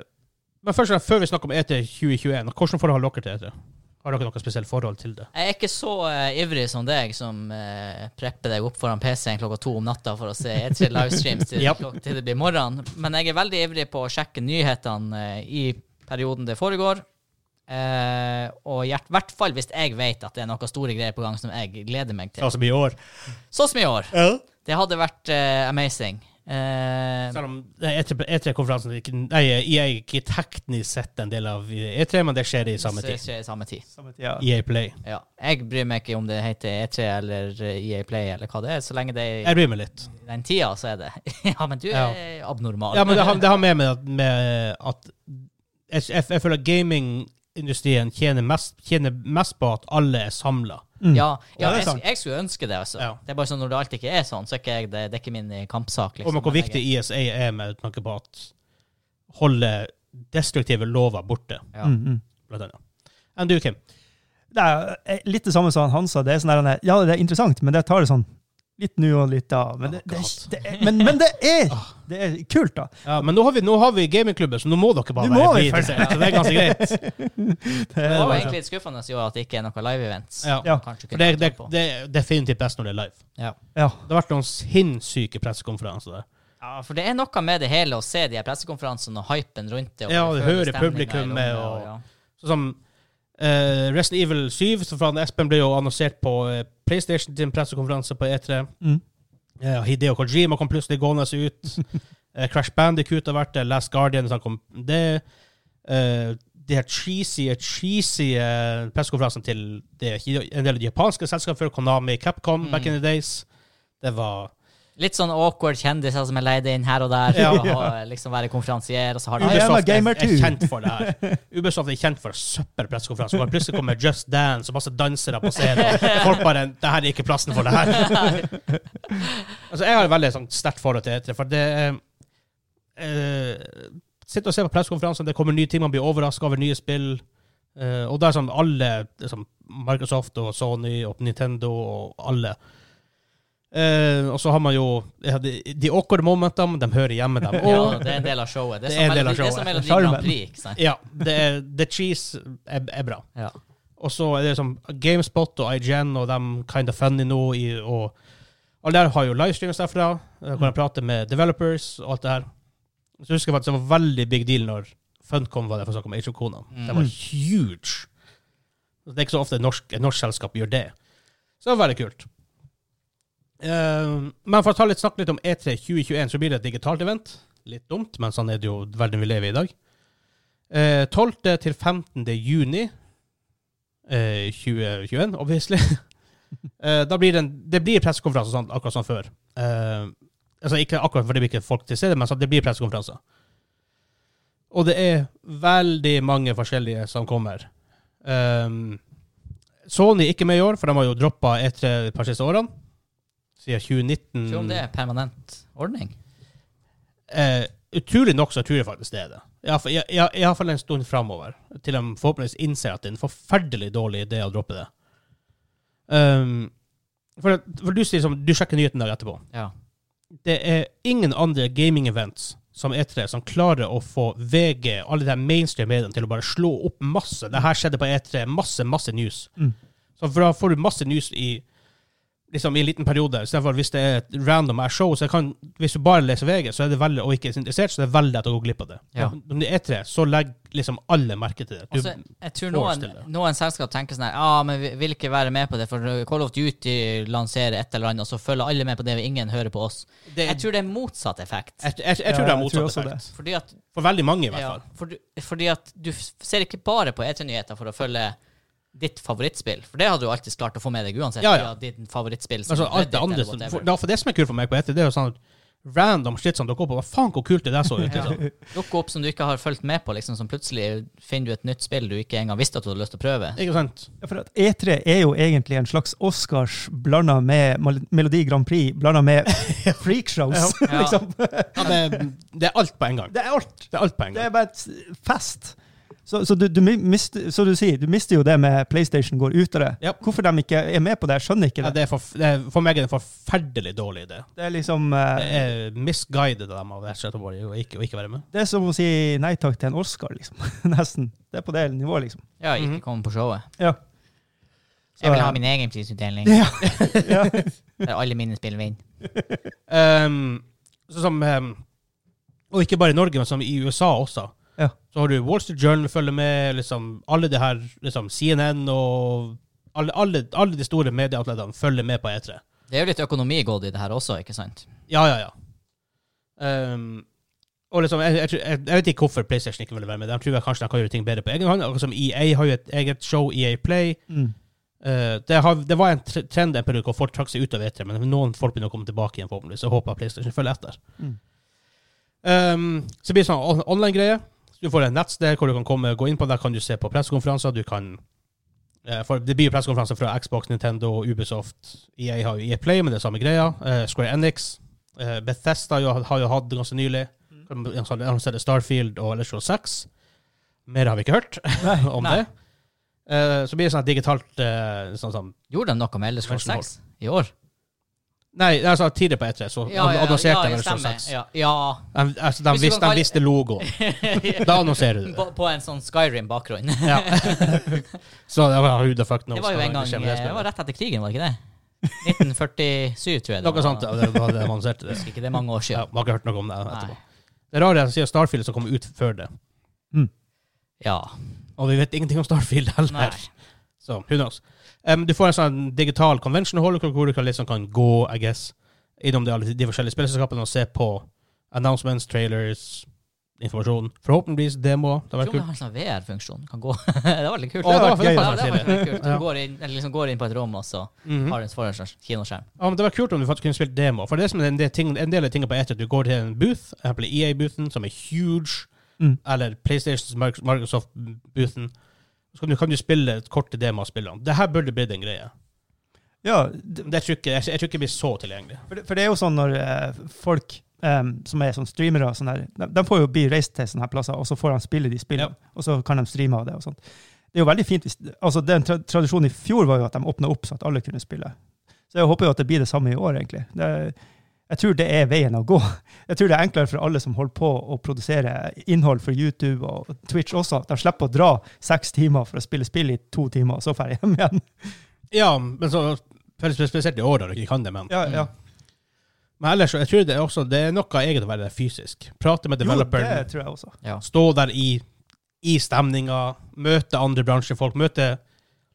men først og fremst, før vi snakker om E ET 2021, hvordan forhold har dere til ET? Har dere noe spesielt forhold til det? Jeg er ikke så eh, ivrig som deg, som eh, prepper deg opp foran PC-en klokka to om natta for å se E3 livestreams til, Japp. klok- til det blir morgen. Men jeg er veldig ivrig på å sjekke nyhetene eh, i perioden det foregår. Eh, og i hvert fall hvis jeg vet at det er noen store greier på gang som jeg gleder meg til. Altså i år? Sånn som i år. Det hadde vært eh, amazing. Eh, Selv om E det er E3 E3-konferansen ikke- Nei, EA er ikke teknisk sett en del av E3, men det skjer i samme så det tid. skjer i samme tid. Samme tid, ja. EA Play. Ja. Jeg bryr meg ikke om det heter E3 eller EA Play eller hva det er, så lenge det er Jeg bryr meg litt. i den tida, så er det Ja, men du Ja. er abnormal. Ja, men det har, det har med meg at, med at jeg, jeg, jeg føler at gamingindustrien tjener mest, tjener mest på at alle er samla. Mm. Ja, ja Ja, det er jeg, sant. jeg skulle ønske det, altså. Ja. Det er bare sånn når det alltid ikke er sånn, så er ikke jeg det, det er ikke min kampsak, Og liksom. med hvor Men viktig jeg- ISA er med tanke på at holde destruktive lover borte, Ja. Mm, mm. blant annet. Enn du, Kim? Det er eh, litt det samme som han sa. Det er sånn der, ja, det er interessant, men jeg tar det sånn litt nå og litt da. Men det, det, er- det, er- men, men det, er, det er kult, da. Ja, men nå har vi, nå har vi gamingklubben, så nå må dere bare Nå må være vi interessert. Så det er ganske greit. Det var jo bare- egentlig litt skuffende i år at det ikke er noe live-events. Ja. Ja. Kanskje For kunne det, tatt det, på. det er definitivt best når det er live. Ja. Ja. Det har vært noen sinnssyke pressekonferanser der. ja, for det er noe med det hele å se de her pressekonferansene og hypen rundt det. og Ja, du du føler hører stemningen publikummet, i rommet, og- ja. Sånn som eh, Resident Evil 7, så fra Espen ble jo annonsert på eh, PlayStation til en pressekonferanse på E E3. Mm. Eh, Hideo Kojima kom plutselig gående ut. Eh, Crash Bandicoot har vært det. Last Guardian så kom det. Eh, de her cheesy, cheesy eh, pressekonferansene til det, en del av de japanske selskapene, Konami, Capcom, Mm. back in the days. Det var Litt sånn awkward kjendiser som er leid inn her og der. Ja. for å ha- liksom være konferansier, og så har I am de Ja, Ubisoft a er, gamer er too. kjent for det her. Ubisoft er kjent for søppelpressekonferanser. hvor Plutselig kommer Just Dance og masse dansere på scenen. og Folk bare Det her er ikke plassen for det her. altså, jeg har et veldig sånn, sterkt forhold til E3, for det uh, Sitter og ser på pressekonferanser, det kommer nye ting, man blir overraska over nye spill. eh, og da er sånn alle liksom, Microsoft og Sony og Nintendo og alle. Eh, og så har man jo ja, de, de awkward momentene, de hører hjemme, dem. Og Ja, det er en del av showet. Det er, Det er som en del av Melodi- det er showet. som Melodi Grand Charmen. Prix. Ikke sant? Ja, det er, The Cheese er, er bra. Ja. Og så er det som GameSpot og IGN og dem Kind of Funny nå i, og alle der har jo livestreams derfra, eh, hvor de prater med developers og alt det her. Så husker jeg faktisk det var veldig big deal når Funcom var der for å snakke om Age of Conan. Det var Mm. huge. Det er ikke så ofte et norsk, et norsk selskap gjør det. Så det var veldig kult. Eh, men for å ta litt, snakke litt om E3 2021, så blir det et digitalt event. Litt dumt, men sånn er det jo verden vi lever i i dag. Eh, 12. til 15. juni eh, 2021, obviously. Eh, da blir det, en, det blir pressekonferanse sånn, akkurat som før. Eh, altså ikke akkurat fordi det blir ikke folk til stede, men sånn, det blir pressekonferanser. Og det er veldig mange forskjellige som kommer. Um, Sony er ikke med i år, for de har jo droppa E3 de par siste årene. Siden 2019. Tror om det er permanent ordning. Eh, utrolig nok så tror jeg faktisk det er det. Iallfall en stund framover. Til de forhåpentligvis innser at det er en forferdelig dårlig idé å droppe det. Ehm, for, for du sier som, du sjekker nyheten dag etterpå. Ja. Det er ingen andre gaming-events som E3 som klarer å få VG, alle de mainstream mediene, til å bare slå opp masse. Det her skjedde på E3. Masse, masse news. Mm. Så for da får du masse news i Liksom i en liten periode. Istedenfor hvis det er et random ass show, så jeg kan, hvis du bare leser VG, så er det veldig, og ikke er så interessert, så det er veldig lett å gå glipp av det. Ja. Men Om det er tre, så legger liksom alle merke til det. Du, Og så, Altså, jeg tror noen, forestiller deg. noen selskap tenker sånn her Ja, ah, men vi vil ikke være med på det, for Call of Duty lanserer et eller annet, og så følger alle med på det, og ingen hører på oss. det, Jeg tror det er motsatt effekt. jeg, jeg, jeg, Ja, tror det er jeg tror motsatt også det. effekt. Fordi at, For veldig mange, i hvert ja, fall. for, du- fordi at du f- ser ikke bare på E3-nyheter for å følge ditt favorittspill, for det hadde du alltid klart å få med deg uansett. Ja, ja. fordi at Ditt favorittspill som Altså, er alt det Reddit andre eller som, whatever. for, ja, for det som er kult for meg på E3, det er jo sånn random shit som dukker opp. og Hva faen, hvor kult det der så ut? Ja. Liksom. Dukker opp som du ikke har fulgt med på, liksom, som plutselig finner du et nytt spill du ikke engang visste at du hadde lyst til å prøve. Ikke sant? Ja, For at E3 er jo egentlig en slags Oscars blanda med Mel- Melodi Grand Prix blanda med freakshows. Ja. liksom. Ja, det, det er alt på en gang. Det er alt. Det er alt på en Det er gang. bare et fest. Så, så, du, du mi- mister, så du sier, du mister jo det med PlayStation går ut av det. Ja. Hvorfor de ikke er med på det, jeg skjønner ikke Ja, det. det er for, det er, for meg er det en forferdelig dårlig idé. Det er liksom eh, Det er misguided av dem av rett og slett å bare å ikke, å ikke være med. Det er som å si nei takk til en Oscar, liksom. Nesten. Det er på det nivået, liksom. Ja, ikke Mhm. komme på showet. Ja. Så- Jeg vil ha min egen prisutdeling, Ja. ja. der alle mine spill vinner. Ehm, så som, ehm, og ikke bare i Norge, men som i USA også. Ja. Så har du Wall Street Journal følger med, liksom, alle det her, liksom, CNN og alle, alle, alle de store medieatletene følger med på E E3. Det er jo litt økonomi gått i det her også, ikke sant? Ja, ja, ja. Um, og liksom, jeg, jeg, tror- jeg, jeg vet ikke hvorfor PlayStation ikke ville være med. De tror jeg kanskje de kan gjøre ting bedre på egen hånd. Akkurat som EA har jo et eget show, EA Play. Mm. Eh, det, har, det var en tre- trend en periode hvor folk trakk seg ut av E3, men noen folk begynner å komme tilbake igjen, forhåpentligvis. Jeg håper at PlayStation følger etter. Mm. Um, så blir det sånn on- online-greie. Du får et nettsted hvor du kan komme, gå inn på. Der kan du se på pressekonferanser. Du kan eh, for Det blir jo pressekonferanser fra Xbox, Nintendo, Ubisoft. EA har jo EA Play, men det er samme greia. Eh, Square Enix. Eh, Bethesda jo, har jo hatt det ganske nylig. De annonserte Starfield og Electro 6. Mer har vi ikke hørt om Nei. det. Eh, så blir det sånn et digitalt eh, sånn, sånn, Gjorde de noe med Elders Scrolls Convention 6 i år? Nei, altså tidligere på E3 så annonserte de Electro stemmer. 6. Ja, ja. De, altså, de, Hvis du visste, kan de kalle- visste logoen. Da annonserer du det. på, på en sånn Skyrim-bakgrunn. Ja. så det var who the fuck knows. Det var jo hva en gang eh, skjer med det Det var spillet. rett etter krigen, var det ikke det? 1947, tror jeg. det Noe sånt. var. Ja, det var det de annonserte det. Husker ikke, det er mange år Ja, siden. man har ikke hørt noe om det etterpå. Nei. Det rare er at siden Starfield som kom ut før det, Ja. og vi vet ingenting om Starfield heller. Nei. Så, who knows. Em, du får en sånn digital convention hall hvor du kan, liksom kan gå, I guess, innom de, alle de forskjellige spillselskapene og se på announcements, trailers, informasjon. Forhåpentligvis demoer. Det Jeg var tror det kult. har en sånn VR-funksjon. Kan gå. det var litt kult. Å, det var- Ja, det var det var faktisk veldig kult. Ja. Du går inn, eller liksom går inn på et rom, og så Mhm. har du en foran en slags kinoskjerm. Ja, men det var kult om du faktisk kunne spilt demo. For det er som en del, ting, en del av tingene på etter, du går til en booth, for eksempel EA-boothen, som er huge, Mm. eller PlayStation, Microsoft-boothen. Så kan du, kan du spille et kort demo av spillene. Det her burde blitt en greie. Ja, det, Det tror ikke, jeg, jeg tror ikke det blir så tilgjengelig. for, det, for det er jo sånn når eh, folk em, som er sånn streamere, og sånn der, de, de får jo bli reist til sånne her plasser, og så får de spille de spillene, og så kan de streame av det. og sånt. Det er jo veldig fint hvis, altså Den tra tradisjonen i fjor var jo at de åpna opp så at alle kunne spille. Så jeg håper jo at det blir det samme i år, egentlig. Det, jeg tror det er veien å gå. Jeg tror det er enklere for alle som holder på å produsere innhold for YouTube og Twitch også, at de slipper å dra seks timer for å spille spill i to timer, og så drar hjem igjen. Ja, men så spesielt i år da du ikke kan det, men. Ja, ja. Men ellers, så jeg tror det er også, det er noe eget å være der fysisk. Prate med Jo, det developeren, tror jeg også. Ja. stå der i, i stemninga, møte andre bransjefolk, møte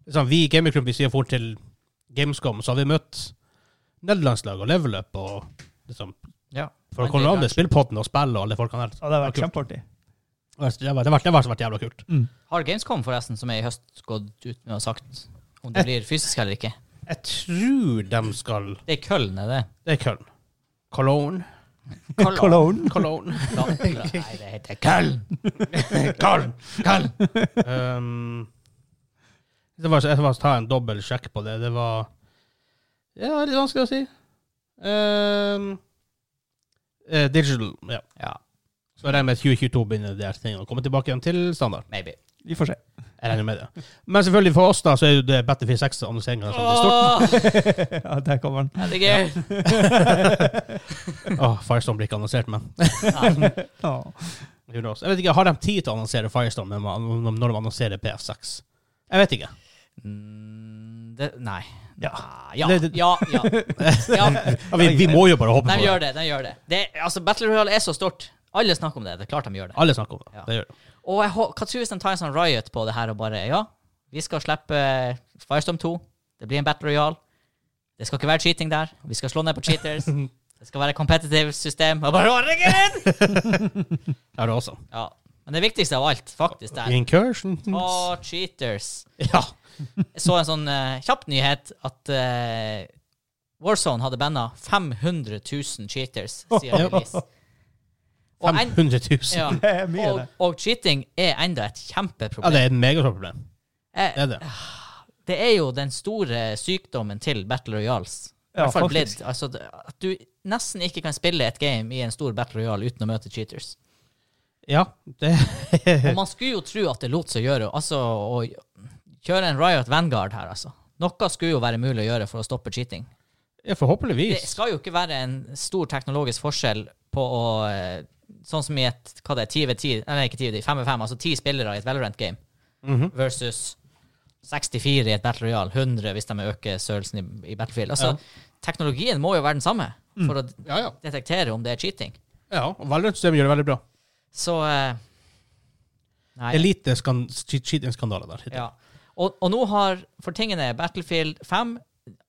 liksom, Vi i Gamerklubben vi sier fort til Gamescom, så har vi møtt nederlandslaget og Level Up og liksom Ja. Folk Men det er holder an til klart. spillpodden og spillet og alle folkene der. Ja, det har vært Kult. kjempeartig. Det har- Det har vært- det har vært jævla kult. Mm. Har Gamescom, forresten, som er i høst, gått ut med og sagt om Eh. det blir fysisk eller ikke? Jeg tror de skal Det er i Køln, er det? Det er Köln. Cologne. Cologne. Cologne. Ja. Nei, det heter Køln. Köln! Köln! um, det var, jeg skal ta en dobbel sjekk på det. Det var Ja, litt vanskelig å si. Um, eh, digital, ja. Ja, Så jeg regner med at 2022 begynner de her tingene å komme tilbake igjen til standard. maybe. Vi får se. Jeg regner med det. Men selvfølgelig for oss da, så er jo det Battlefield Sånn 6-annonseringa som blir stort. Åh, ja, der kommer den. er det gøy? Åh, Firestorm blir ikke annonsert, men Ja. who knows. Jeg vet ikke, Har de tid til å annonsere Firestorm når man- når de annonserer PF6? Jeg vet ikke. Mm, det, nei. Ah, Ja. Ja, Det- det- ja, ja. ja. Ja, vi, vi må jo bare håpe De på det. gjør det. de gjør det. det altså, Battle Royale er så stort. Alle snakker om det. Det er klart de gjør det. Alle snakker om det. Ja. det gjør det. Og jeg, hå- hva tror du hvis de tar en sånn riot på det her og bare Ja, vi skal slippe eh, Firestorm 2. Det blir en Battle Royale. Det skal ikke være cheating der. Vi skal slå ned på cheaters. Det skal være competitive system. Og bare herregud! Det er det også. Ja. Men det viktigste av alt, faktisk, der Incursion. Å, cheaters. Ja. Jeg så en sånn eh, kjapp nyhet at eh, Warzone hadde banna 500 000 cheaters siden release. Og, en, 500 000. ja, Ja. Det er mye, og, det. og cheating er enda et kjempeproblem. det er et megastort problem. Jeg- Det er det. det er jo den store sykdommen til Battle Royals. I Ja, hvert fall faktisk. blitt. Altså, det- at du nesten ikke kan spille et game i en stor Battle Royale uten å møte cheaters. Ja, det Og man skulle jo tro at det lot seg gjøre. Altså, å kjøre en Riot Vanguard her, altså. Noe skulle jo være mulig å gjøre for å stoppe cheating. ja, Det forhåpentligvis. skal jo ikke være en stor teknologisk forskjell på å eh, Sånn som i et hva det er, 10 ved 10, nei, ikke 10 ved 10, 5 ved 5, altså 10 spillere i et Valorant-game Mhm. versus 64 i et Battle Royale, 100 hvis de øker størrelsen i, i Battlefield. Altså, Ja. Mm. Teknologien må jo være den samme for å Ja, ja. detektere om det er cheating. ja og Valorant-systemet gjør det veldig bra. Så eh, Nei. Det er lite skan- cheat- cheating-skandaler der. hittil. Ja. Og, og nå har For tingene er Battlefield 5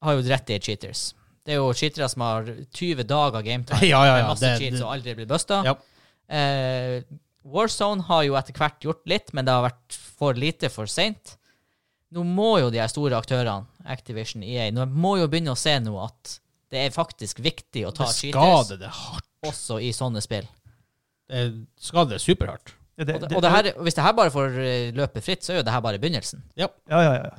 har jo rett i cheaters. Det er jo cheatere som har 20 dager gametime Ja, ja, med ja, masse det- cheats det- og aldri blir busta. Ja. Eh, Warzone har jo etter hvert gjort litt, men det har vært for lite for seint. Nå må jo de her store aktørene, Activision, EA, nå må jo begynne å se nå at det er faktisk viktig å ta Det cheaters skader det hardt. også i sånne spill. Det skader det superhardt. Ja, Og, det, og det her, hvis det her bare får eh, løpe fritt, så er jo det her bare begynnelsen. Ja, ja, ja.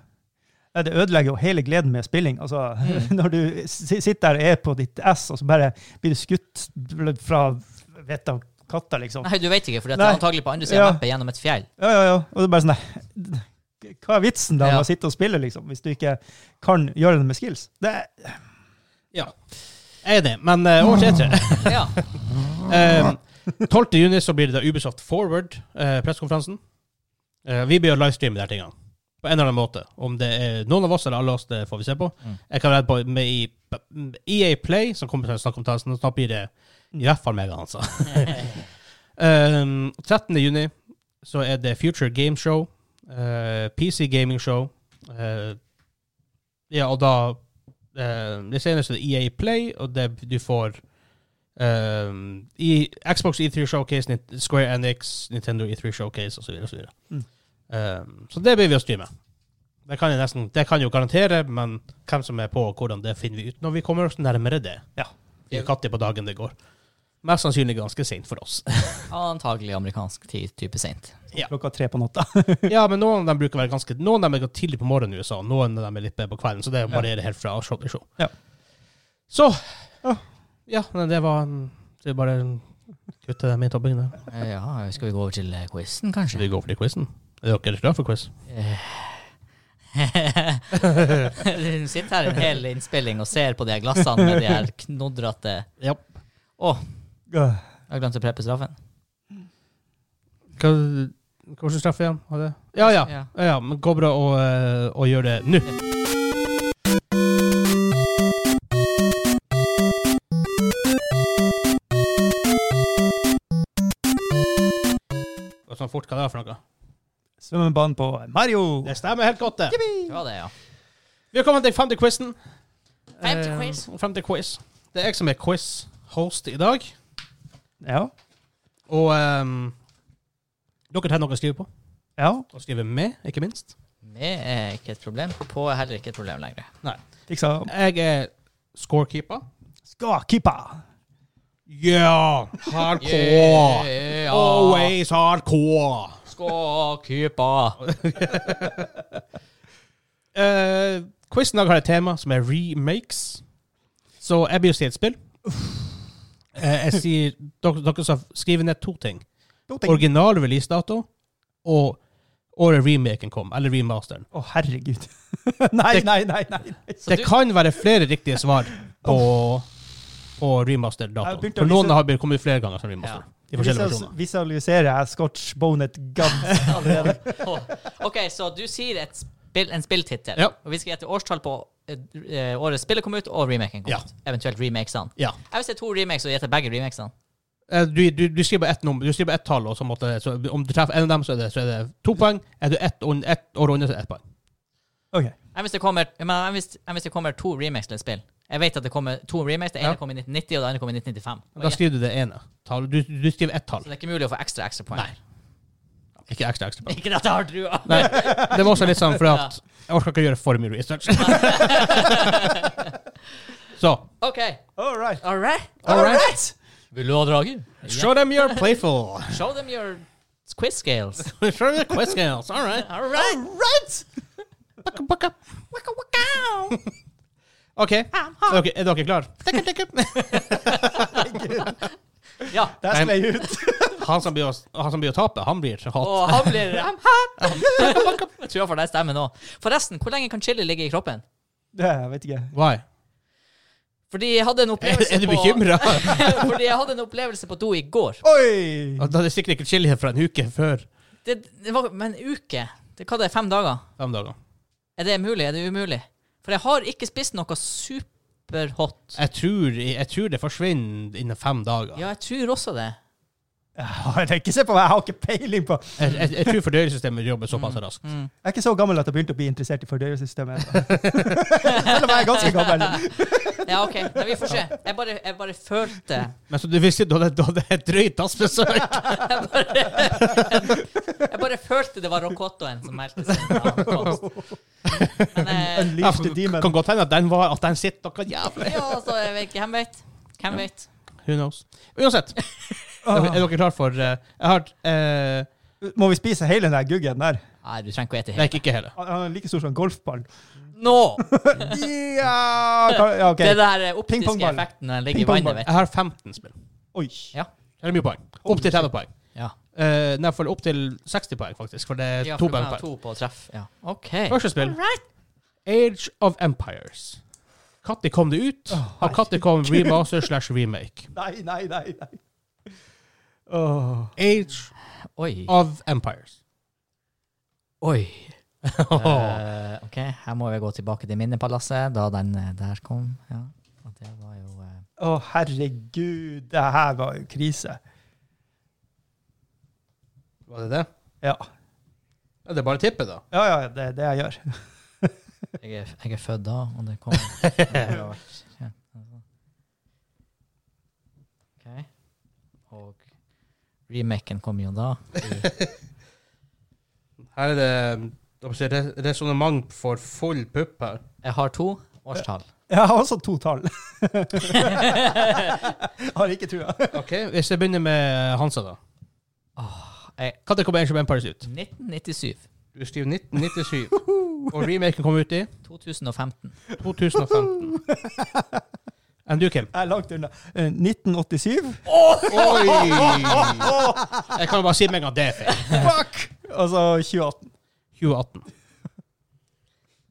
Ja, Det ødelegger jo hele gleden med spilling. Altså, Mm. Når du si- sitter der og er på ditt ess, og så bare blir du skutt fra vet da katta, liksom. Nei, du vet ikke, for det Nei. er antagelig på andre siden Ja. av mappet gjennom et fjell. Ja, ja, ja. Og det er bare sånn nei, Hva er vitsen da med Ja. å sitte og spille, liksom, hvis du ikke kan gjøre det med skills? Det er, Ja. Jeg er enig, men uh, over til E3. Ja. Eh, 12. juni så blir det da Ubisoft Forward, uh, pressekonferansen. Eh, vi blir å livestreame de her tingene. På en eller annen måte. Om det er noen av oss eller alle oss, det får vi se på. Mm. Jeg kan redde på med i EA Play, som kommer til å snakke om det, så snart blir det i hvert fall meg, altså. um, 13. juni så er det Future Game Show, eh, PC Gaming Show, eh, ja, og da eh, det seneste er EA Play, og det du får Um, i Xbox E3 Showcase, Nint- Square Enix, Nintendo E3 Showcase osv. Så, videre. Mm. um, så det blir vi å streame. Det kan jeg nesten det kan jeg jo garantere, men hvem som er på og hvordan, det finner vi ut når vi kommer oss nærmere det. Ja. Vi er katter på dagen det går. Mest sannsynlig ganske seint for oss. Antagelig amerikansk tid, type seint. Ja. klokka tre på natta. ja, men noen av dem bruker å være ganske Noen av dem er ganske tidlig på morgenen i USA, og noen av dem er litt bedre på kvelden, så det varierer helt fra show til show. Ja. Så Ja. Ja, men det var en- Det er bare en- kutte dem i toppingen der. Eh, Ja, skal vi gå over til eh, quizen, kanskje? Eh, Vi går for til quizen. Er dere klare for quiz? Du sitter her en hel innspilling og ser på de her glassene med de her knodrete Ja. Å, Ja. jeg glemte å preppe straffen. Hva, hvordan straffer jeg ham? Ja, ja. ja. Ja. ja men går bra å, eh, å gjøre det nå. Og Sånn fort, hva det er for noe? Svømmebanen på Mario. Det stemmer helt godt, det. Det var det, ja. Vi har kommet til femte quizen. Femte quiz. Eh, femte quiz. Det er jeg som er quiz-host i dag. Ja. Og ehm, dere har noe å skrive på. ja. Og skrive med, ikke minst. Det er ikke et problem. På er heller ikke et problem lenger. Fiksa Jeg er scorekeeper. Skakipa. Ja! Hardcore! Always hardcore! Skåkupa. Eh, Quizen i dag har et tema som er remakes. Så jeg blir å si et spill. Eh, jeg sier Dere, dere skal skrive ned to ting. Å, Original releasedato og året remaken kom, eller remasteren. herregud. nei, Det- nei, nei. nei. Det kan være flere riktige svar på, på Jeg remasterdatoen. begynte å For vise- noen har blitt- kommet kommet flere ganger som Ja. remaster. I forskjellige Visualis- versjoner. Visualiserer jeg Scotch Bonnet Guns allerede. Å, OK, så du sier et spill, en spilltittel, Ja. og vi skal gjette årstall på eh, året spillet kom ut, og remaken kom Ja. ut. Eventuelt remakesene. Ja. Jeg vil se to remakes og gjette begge remakesene. Eh, Du, du, du skriver ett nummer, du skriver ett tall, og så måtte, så om du treffer en av dem, så er det, så er det to poeng. Er du ett un- ett år under, så er det ett poeng. Ok. Jeg hvis det kommer, jeg mener, jeg hvis, jeg hvis det kommer to remakes til et spill. Jeg vet at det kommer to remakes. Det ene Ja. kom i 1990, og det andre kom i 1995. Og Da igjen, skriver du det ene. Tall. Du, du skriver ett tall. så det er ikke mulig å få ekstra ekstra poeng. Nei. Ikke ekstra, ekstra poeng. Ikke at jeg har trua. Nei, det var også litt sånn fordi at jeg orker ikke gjøre for mye research. så OK. All right. All right. All right. Vil du ha drager? Show them you're playful. Show them your quiz scales. Show them the quiz skills. All right. All right. Bakka, bakka. OK, er dere, er dere klar? Tikka, tikka. Ja. Der sklei jeg ut. Han som blir å, han som blir å tape, han blir hat. Og han blir I'm hot. Jeg tror jeg får deg stemmen òg. Forresten, hvor lenge kan chili ligge i kroppen? Det, jeg vet ikke. Why? Fordi jeg hadde en Er, opplevelse er du på- bekymra? Fordi jeg hadde en opplevelse på do i går. Oi! Og Da er det sikkert ikke chili fra en uke før Det, det var men en uke. Det, hva det er fem dager? fem dager. Er det mulig? Er det umulig? For jeg har ikke spist noe superhot. Jeg tror, jeg tror det forsvinner innen fem dager. Ja, jeg tror også det. Jeg tenker ikke se på meg, jeg har ikke peiling på Jeg Jeg, jeg, jeg tror fordøyelsessystemet jobber såpass raskt. Mm. er ikke så gammel at jeg begynte å bli interessert i fordøyelsessystemet. ennå. Selv om jeg er ganske gammel. Ja, OK. Nei, vi får se. Jeg bare, jeg bare følte Men så du visste du hadde, du hadde et drøyt tassbesøk. jeg bare, jeg bare følte det var Rokottoen som meldte seg. da han kom. Men eh, Unleash the Ja, demon. kan godt hende at den, var, at den sitter noe jævlig. ja, altså, jeg vet ikke. Hvem vet? Hvem vet? Who knows? Uansett, Ah. er er dere klare for eh, Jeg har eh, Ah. Må vi spise hele den der guggen der? Nei, du trenger ikke å ete Nei, helt. ikke ikke hele. Han han er like stor som en golfball. Nå! Ja, ka- ja, ok. Det der eh, optiske Pingpongball. effekten den ligger i Pingpongball. vannet, vet du. Jeg har 15 spill. Oi. Det er mye poeng. Opp til 30 poeng. Ja. Uh, nei, for opp til 60 poeng, faktisk. For det er Ja, to for poeng meg er per. to på treff. Ja. OK. Første spill. Age of Empires. Når kom det ut? Har når kom remaster slash remake? Nei, nei, nei. nei. Age Oi. of Empires. Oi. Eh, OK, her må vi gå tilbake til Minnepalasset, da den eh, der kom. Ja. Og det var jo eh, Å, herregud. Det her var jo krise. Var det det? Ja, Ja, Det er bare tippet, da. ja, ja det er det jeg gjør. Jeg er, jeg er født da, og det kom det har vært- ja, altså. OK. Og remaken kom jo da. Her er det resonnement for full pupp her. Jeg har to årstall. Jeg har også to tall. har ikke trua. Ok, Hvis jeg begynner med Hansa, da. Ah, jeg- Når kom Age of Empires ut? 1997. Du skriver 1997. og remaken kom ut i 2015. 2015. Enn du, Kim? Jeg er langt unna. Eh, 1987. Oi! Jeg kan jo bare si med en gang det er feil. Fuck! Altså 2018. 2018.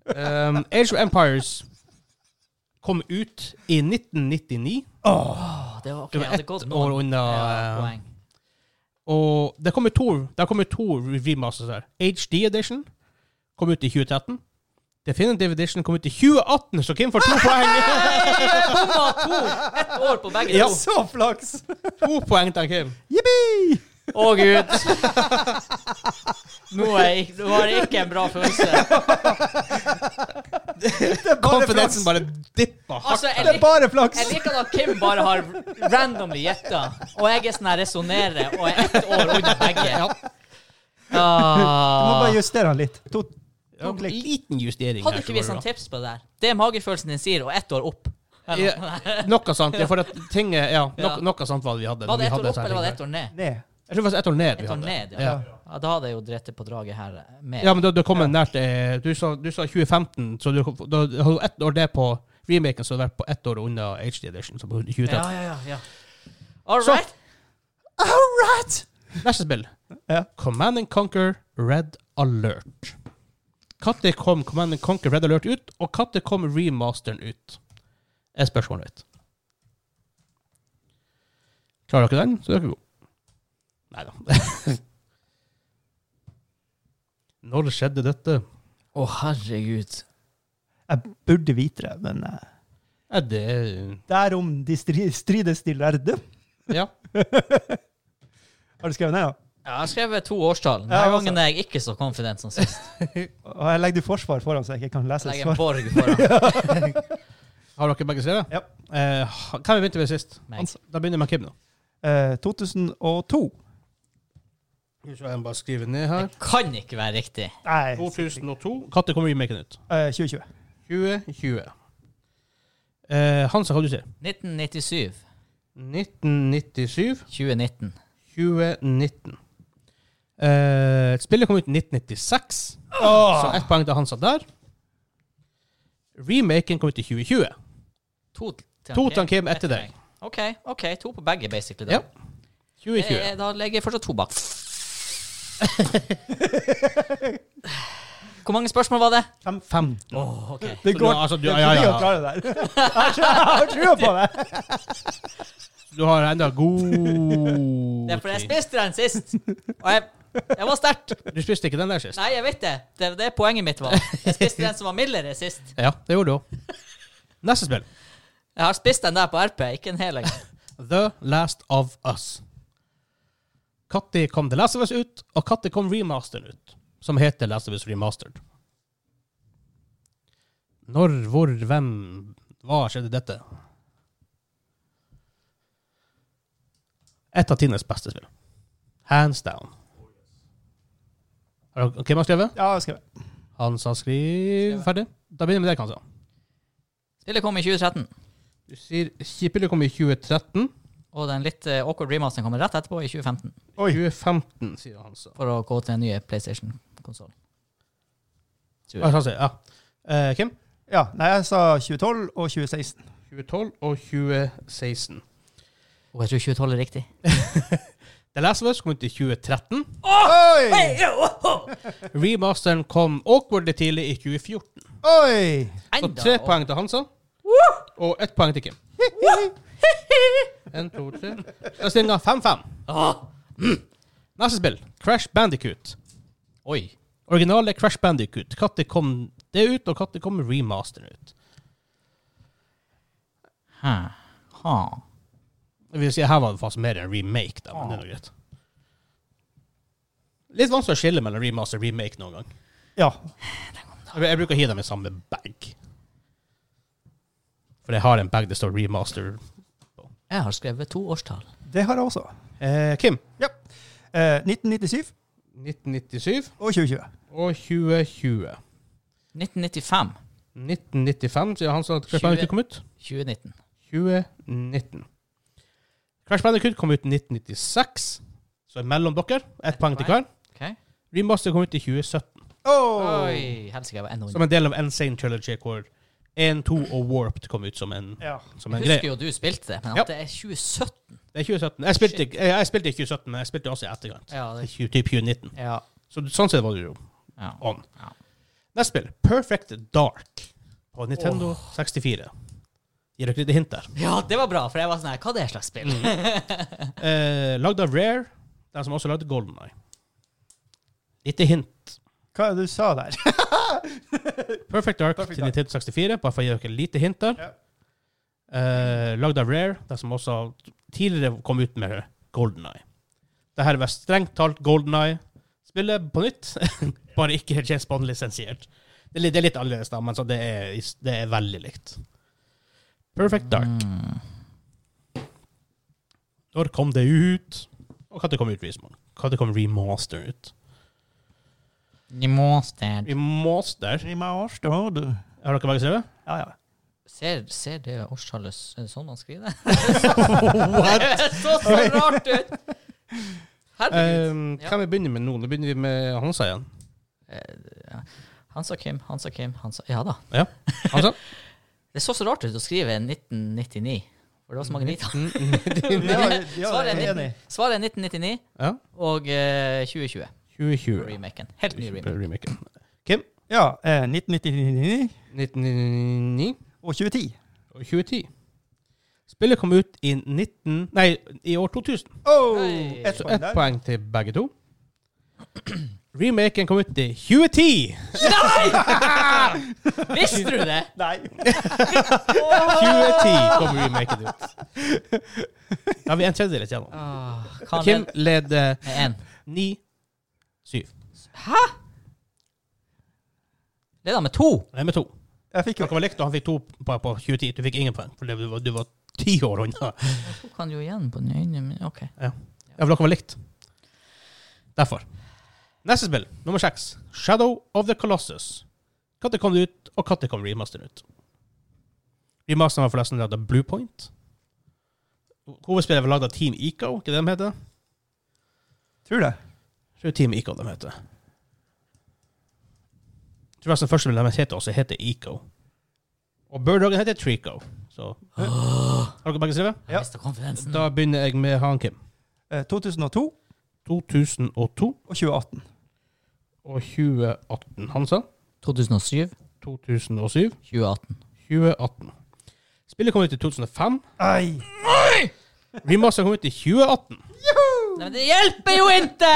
Um, Age of Empires kom ut i 1999. Å, det var, ok, Det jeg var hadde ett gått år noen unna. ja, eh, poeng. og det kommer to, det kommer to remasters her. HD Edition kom ut i 2013. Definitive Edition kom ut i 2018, så Kim får to poeng. Jeg bomma to! Ett år på begge Ja. to. Så flaks! To poeng til Kim. Jippi! Å, gud. Nå, er jeg, ikke- nå har jeg ikke en bra følelse. Det er bare flaks. Konfidensen bare dippa hardt. Altså, jeg, Det er lik, bare flaks! jeg liker at Kim bare har randomly gjetta, og jeg er sånn her resonnerer, og jeg er ett år under begge. Du må Ah. bare justere den litt. To, Ja, to klikk. liten justering. Hadde her, så ikke vi går det sånn bra. tips på det der? Det er magefølelsen din sier, og ett år opp. Ja, noe sant. Ja, for at ting er- ja, Ja. noe, noe sant var det vi hadde. Var det vi ett år hadde opp, sånne eller var det ting ett år ned? Ned. der. Jeg tror det var ett år ned. vi Ett år hadde. ned, ja. Ja. ja. Da hadde jeg jo drept det på draget her eh, med. Ja, men da, da kom jeg nært eh, du sa, du sa 2015, så du, kom- da hadde du ett år det på remaken, så hadde det vært på ett år unna HD Edition. Så på 2013. ja, ja, ja, ja. All Så- right. Neste spill. Ja. Command and Conquer Red Alert. Når kom Command and Conquer Red Alert ut, og når kom remasteren ut? Er spørsmålet mitt. Klarer dere den, så er dere gode. Nei da. Når skjedde dette? Å, herregud. Jeg burde vite det, men eh, Er det derom de stri- strides de lærde. Ja. Har du skrevet ned? ja? Ja, jeg skrev to årstall. Ja, Denne altså. gangen er jeg ikke så confident som sist. Og jeg legger det i forsvar foran, så jeg ikke kan Jeg lese legger en svar. borg foran Har dere begge skrevet? Ja. Eh, hvem begynte med sist? meg. Da begynner jeg med Kim nå. Eh, 2002. Så jeg bare skriver ned Det kan ikke være riktig. Nei, 2002. Når kom remaken ut? eh, 2020. 2020. Eh, Hansa, hva du sier 1997. 1997. 2019. 2019. Eh, spillet kom ut i 1996, så ett poeng til Hansa der. Remaken kom ut i 2020. To til han To Kim, til han Kim ett etter til deg. meg. OK, ok, to på begge, basically. Ja. Da, 2020. Eh, da legger jeg fortsatt to bak. Hvor mange spørsmål var det? 15. Åh, ok. Det Så går du, altså, du, det ja, er ja, fordi å ja. klare det der. Jeg tror- Jeg har trua på det! du har enda god Det er fordi jeg tid. spiste den sist. Og jeg, jeg var sterkt. Du spiste ikke den der sist? Nei, jeg vet det. Det er det poenget mitt var. Jeg spiste den som var mildere sist. Ja, det gjorde du òg. Neste spill. Jeg har spist den der på RP, ikke en hel lenger. The Last of Us. Når kom The Last of Us ut, og når kom remasteren ut, som heter Last of Us Remastered? Når, hvor, hvem, hva skjedde dette? Et av tidenes beste spill. Hands down. Har dere- Hvem har skrevet? Ja, jeg skrev det. Hans har skrevet ferdig. Da begynner vi med deg, Hansa. Spillet kom i 2013, Du sier Skipillet kom i 2013. og den litt eh, awkward remasteren kommer rett etterpå, i 2015, 2015, sier Hansa. for å gå til den nye PlayStation-konsollen. Ah, Hansa, ja. Eh, Kim? Ja, nei, jeg sa 2012 og 2016. 2012 og 2016. Og jeg tror 2012 er riktig. The Last of Us kom ut i 2013. Ah! Oi! Remasteren kom awkwardly tidlig i 2014. Oi! Så Enda, tre og- poeng til Hansa. Og ett poeng til Kim. En, to, tre. Da er stillinga 5-5. Åh! Neste spill, Crash Bandicoot. Oi. Originale Crash Bandicoot. Når kom det ut, og når kom remasteren ut? Hæ. Ha. Jeg vil si, Her var det faktisk mer en remake, da, men det er nå greit. Litt vanskelig å skille mellom remaster og remake noen gang. Ja. Jeg, jeg bruker å hive dem i samme bag. For jeg har en bag det står remaster. Jeg har skrevet to årstall. Det har jeg også. Eh, Kim, Eh, 1997 1997 og 2020. og 2020. 1995. 1995, sier han som at Crash Bandicoot kom ut. 2019. 2019. Crash Bandicoot kom ut i 1996, så mellom dere. Ett poeng til hver. Ok. Remaster kom ut i 2017, Oh. Oi. Helsike, jeg var enda som en del av Insane Trilogy, hvor 1, 2 og Warped kom ut som en, Ja. som en Jeg husker greie. jo du spilte det, men Ja. at det er 2017 Det er 2017. Jeg spilte, ikke- jeg, jeg spilte i 2017, men jeg spilte også i etterkant. Ja. I 20, typ 2019. ja. Så sånn sett var det jo ja. on. Ja. Neste spill, Perfect Dark, på Nintendo 64. Gir dere litt hint der. ja, det var bra, for jeg var sånn her Hva det er slags spill? Mm. Eh, lagd av Rare, de som også lagde Golden Eye. Lite hint. Hva er det du sa der? Perfect Dark Perfect til Dark. Nintendo 64, bare for å gi dere lite hint der. Ja. Eh, lagd av Rare, de som også tidligere kom ut med Golden Eye. Det her var strengt talt Golden Eye. Spillet på nytt, bare ikke James Bond-lisensiert. Det, er litt- det er litt annerledes, da, men så det, er, det er veldig likt. Perfect Dark. Mm. Når kom det ut? Og når kom utvisningen? Når kom remaster ut? Monster. Remaster? Har dere begge skrevet? Ja, ja. Ser, ser det årstallet s- Er det sånn man skriver det? Det så så rart ut! Herregud. Um, Ja. Kan vi begynne med nå? Nå begynner vi med Hansa igjen. Han sa Eh, Kim, han sa Kim, han sa Ja da. Hansa? Det så så rart ut å skrive 1999. For det var så mange nitall. Mm, ja, ja Svaret er jeg er enig. Svaret er 1999 Ja. og eh, 2020. 2020. Remaken. Helt ny remake. Remaken. Kim? Ja, eh, 1999 1999 og 2010. og 2010. Spillet kom ut i 19... Nei, i år 2000. Oh, Hei. ett Så poeng ett der. poeng til begge to. Remaken kom ut i 2010. Visste du det?! Nei. 2010 kom remaken ut. Da har vi en tredjedel igjennom. Åh, Ah, kan Kim Kim. leder Med en. 9-7. Leder han med to? Nei, med to. Jeg fikk jo Dere var likt, og han fikk to poeng på 2010. Du fikk ingen poeng, for du var, du var ti år unna. To kan jo igjen på den øynene mine. OK. Ja, for dere var likt. Derfor. Neste spill, nummer seks. Shadow of the Colossus. Når kom det ut, og når kom remasteren ut? Remasteren var forresten lagd av Bluepoint. Hovedspillet var lagd av Team Ico, ikke det de heter? Tror det. Jeg tror Team Ico de heter. Jeg tror forresten første spillet de heter også heter Ico. Og Birddogen heter Trico. Så eh, Har dere begge skrevet? Jeg mista konfidensen. Da begynner jeg med han Kim. Eh, 2002 og 2002 2018. og 2018. Han sa 2007. 2007. 2018. 2018. Spillet kom ut i 2005. Ei. Remaster kom altså ut i 2018. Nei, men det hjelper jo ikke!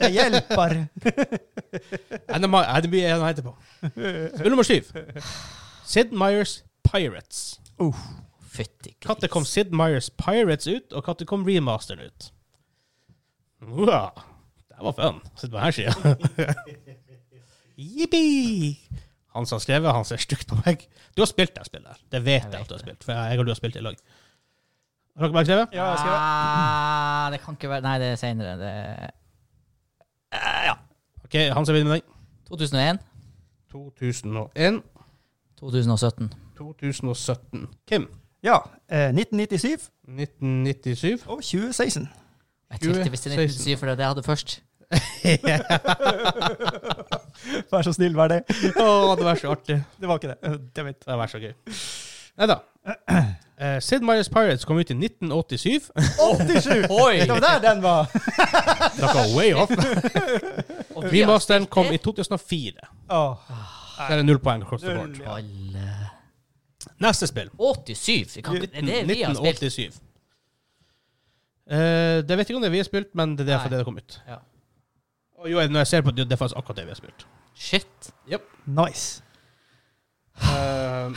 Det hjelper. NMI er det mye han heter på. Spill nummer syv. Sid Meyers Pirates. Fytti Når kom Sid Meyers Pirates ut, og når kom remasteren ut? Hurra! Det var fun. Sitt på her sida. Jippi! Han som har skrevet, han ser stygt på meg. Du har spilt det spillet. her. Det vet jeg, at Jeg vet du har det. spilt, for jeg og du har spilt det i lag. Har dere bare skrevet? Ja, jeg skrev ah, det kan ikke være Nei, det er seinere. Det... Eh, ja. OK, han som begynner med den. 2001. 2001. 2017. 2017. Kim. Ja. Eh, 1997 1997. og 2016. Jeg tenkte hvis det er 1997, for det er det jeg hadde først. Vær så snill, vær det. Å, det var så artig. Det var ikke det. Eh, Damn it. Det var så gøy. Nei da. Eh, Sid Meier's Pirates kom ut i 1987. 87! Oi! Det var der den var! Dere er way off. Og vi har Remasteren spilt kom i det. 2004. Åh. Der er det null poeng across the Null, board. ja. Alle Neste spill. 87. Vi kan ikke, det er det vi har spilt. 1987. Eh, det vet jeg ikke om det vi har spilt, men det er derfor Nei. det det kom ut. Ja. Og jo, når jeg ser på det, det er faktisk akkurat det vi har spilt. Shit. Nice. Eh,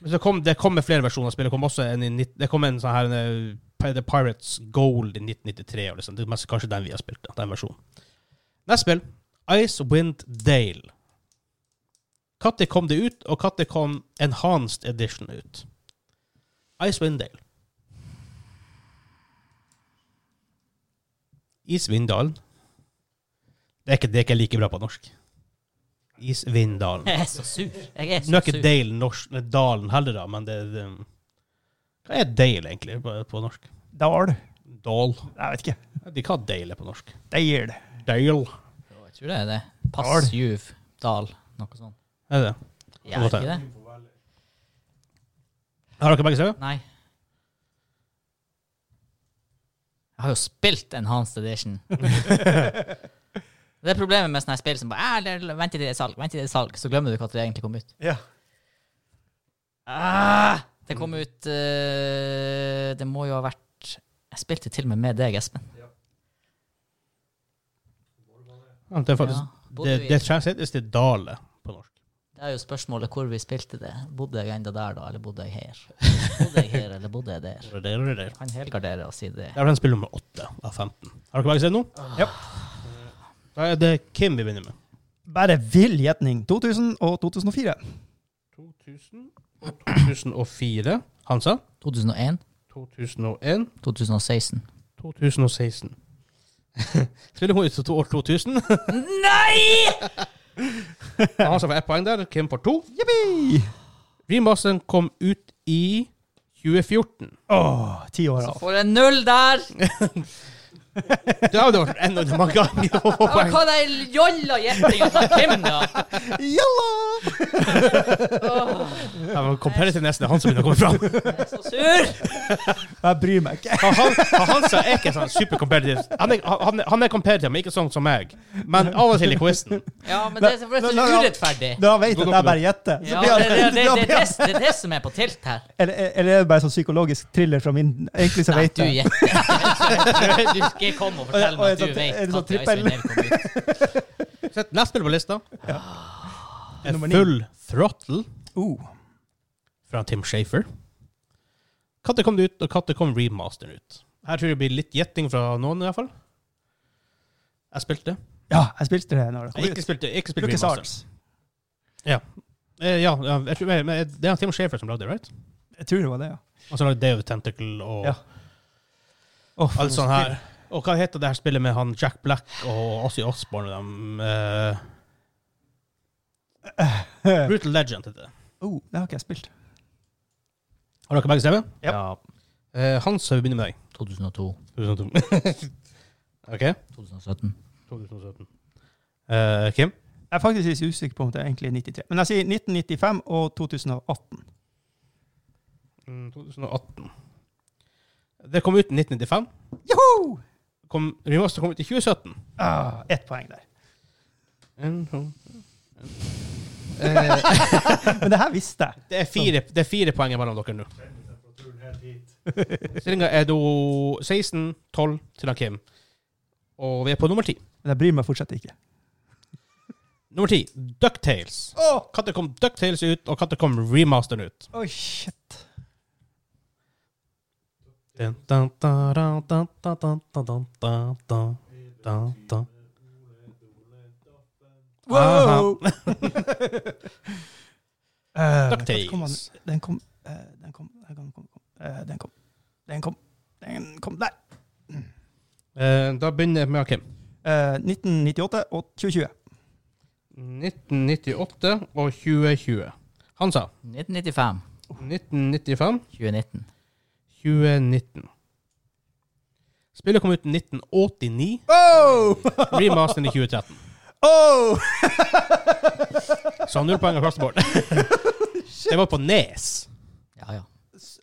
men så kom, det kom med flere versjoner av spillet. Det kom også en, i nitt- det kom en sånn her en, eh, The Pirates Gold i 1993. Og liksom. Det er mest kanskje den vi har spilt. da, Den versjonen. Neste spill, Icewind Dale. Når kom det ut, og når kom Enhanced Edition ut? Icewind Dale. Isvindalen. Det er ikke, det er ikke like bra på norsk. Isvindalen. Jeg er så sur. Jeg er Nå så er ikke sur. Dale norsk, nei, Dalen heller, da, men det, det Hva er Dale egentlig på, på norsk? Dal. Dal. Jeg vet ikke. De hva Dale er på norsk. Deil. Dale. Jo, Jeg tror det er det. Pass Juv Dal. Noe sånt. Er det? Ja, er det ikke det? Har dere begge skrevet? Nei. Jeg har jo spilt Enhanced Edition. det er problemet med sånne her spill som bare "Ah, det- Vent til det er salg, vent til det er salg, så glemmer du hva det egentlig kom ut. Ja. Ah, det kom ut eh, Det må jo ha vært Jeg spilte til og med med deg, Espen. Ja, det er faktisk Ja. Bodde Det, vi- det translates til Dale på norsk. Det er jo spørsmålet hvor vi spilte det. Bodde jeg enda der, da, eller bodde jeg her? Bodde jeg her, eller bodde jeg der? Det er det der. Kan helgardere og si det. Det er vel en spill nummer åtte av 15. Har dere begge skrevet noe? Ah. Ja. Da er det Kim vi begynner med. Bare vill gjetning. 2000 og 2004. 2000 og 2004. Hansa? 2001, 2001. 2016. 2016. Spiller hun ut til år 2000? Nei! Han som får ett poeng der, Kim får to. Jippi! Remasteren kom ut i 2014. Åh, ti år Så av. får jeg null der! Det har jo vært enda en mange ganger å få Ja, men poeng. hva er den jolla gjettinga til Kim, da? Jalla! Åh, Jeg var competitive nesten. Han som begynner å komme fram. jeg er så sur! Jeg bryr meg ikke. Han, han, han sa er ikke sånn super competitive. Han er, han, er- han er competitive, men ikke sånn som meg. Men av og til i quizen. Ja, men det er så for det er Men- så men- urettferdig. Når han vet at jeg bare gjetter, så Ja, blir det, det, han det, det, da det, blir han- det, det er det som er på tilt her. Eller eller er det bare sånn psykologisk thriller fra min Egentlig så Nei, vet du jeg. gjetter. ikke. Du skal ikke komme og fortelle Og jeg- meg og jeg- at du vet er det sånn at trippel? Icewind Dale kom ut. Sett Neste spill på lista er Nummer ni. Full Throttle Oh. fra Tim Shafer. Når kom det ut, og når kom remasteren ut? Her tror jeg det blir litt gjetting fra noen, i hvert fall. Jeg spilte. Ja, jeg spilte det når det kom Jeg ikke ut. spilte, ikke spilte Lucas remasteren. Arts. Eh, ja, ja jeg tror, men det er Tim Shafer som lagde det, right? Jeg tror det var det, ja. Og så lagde Day of the Tentacle og Ja. Åh, for alt noe sånt her. spill. Og hva heter det her spillet med han Jack Black og Ozzy Osbourne og dem? eh, Brutal Legend heter det. Oh, det har ikke jeg spilt. Har dere begge skrevet? Ja. Eh, Hans, vi begynner med deg. 2002, 2002. OK. 2017. 2017. Eh, Kim? Jeg er faktisk litt usikker på om det er egentlig 93. Men jeg sier 1995 og 2018. 2018. Mm, Det kom ut i 1995. Joho! Kom, remaster kom ut i 2017. Ah, ett poeng der. En, to, Men det her visste jeg. Eh, Det er fire, det er fire poeng mellom dere nå. Stillinga er da 16-12 til han Kim. Og vi er på nummer ti. Men jeg bryr meg fortsatt ikke. Nummer ti, Ducktales. Åh! Når kom Ducktales ut, og når kom remasteren ut? Oi, shit. Dun, dun, dun, dun, dun, dun, dun, dun, dun, dun, dun, dun, dun. Wow! Eh, Duck når kom Tales. han? Den kom, eh, den kom, den kom, den kom, eh, den kom, den kom, den kom der. Eh, Da begynner jeg med Kim. Eh, 1998 og 2020. 1998 og 2020. Han sa 1995. 1995, 2019. 2019. Spillet kom ut i 1989, Oh! remasteren i 2013. Oh! Så null poeng across the board. Det var på Nes. Ja, ja.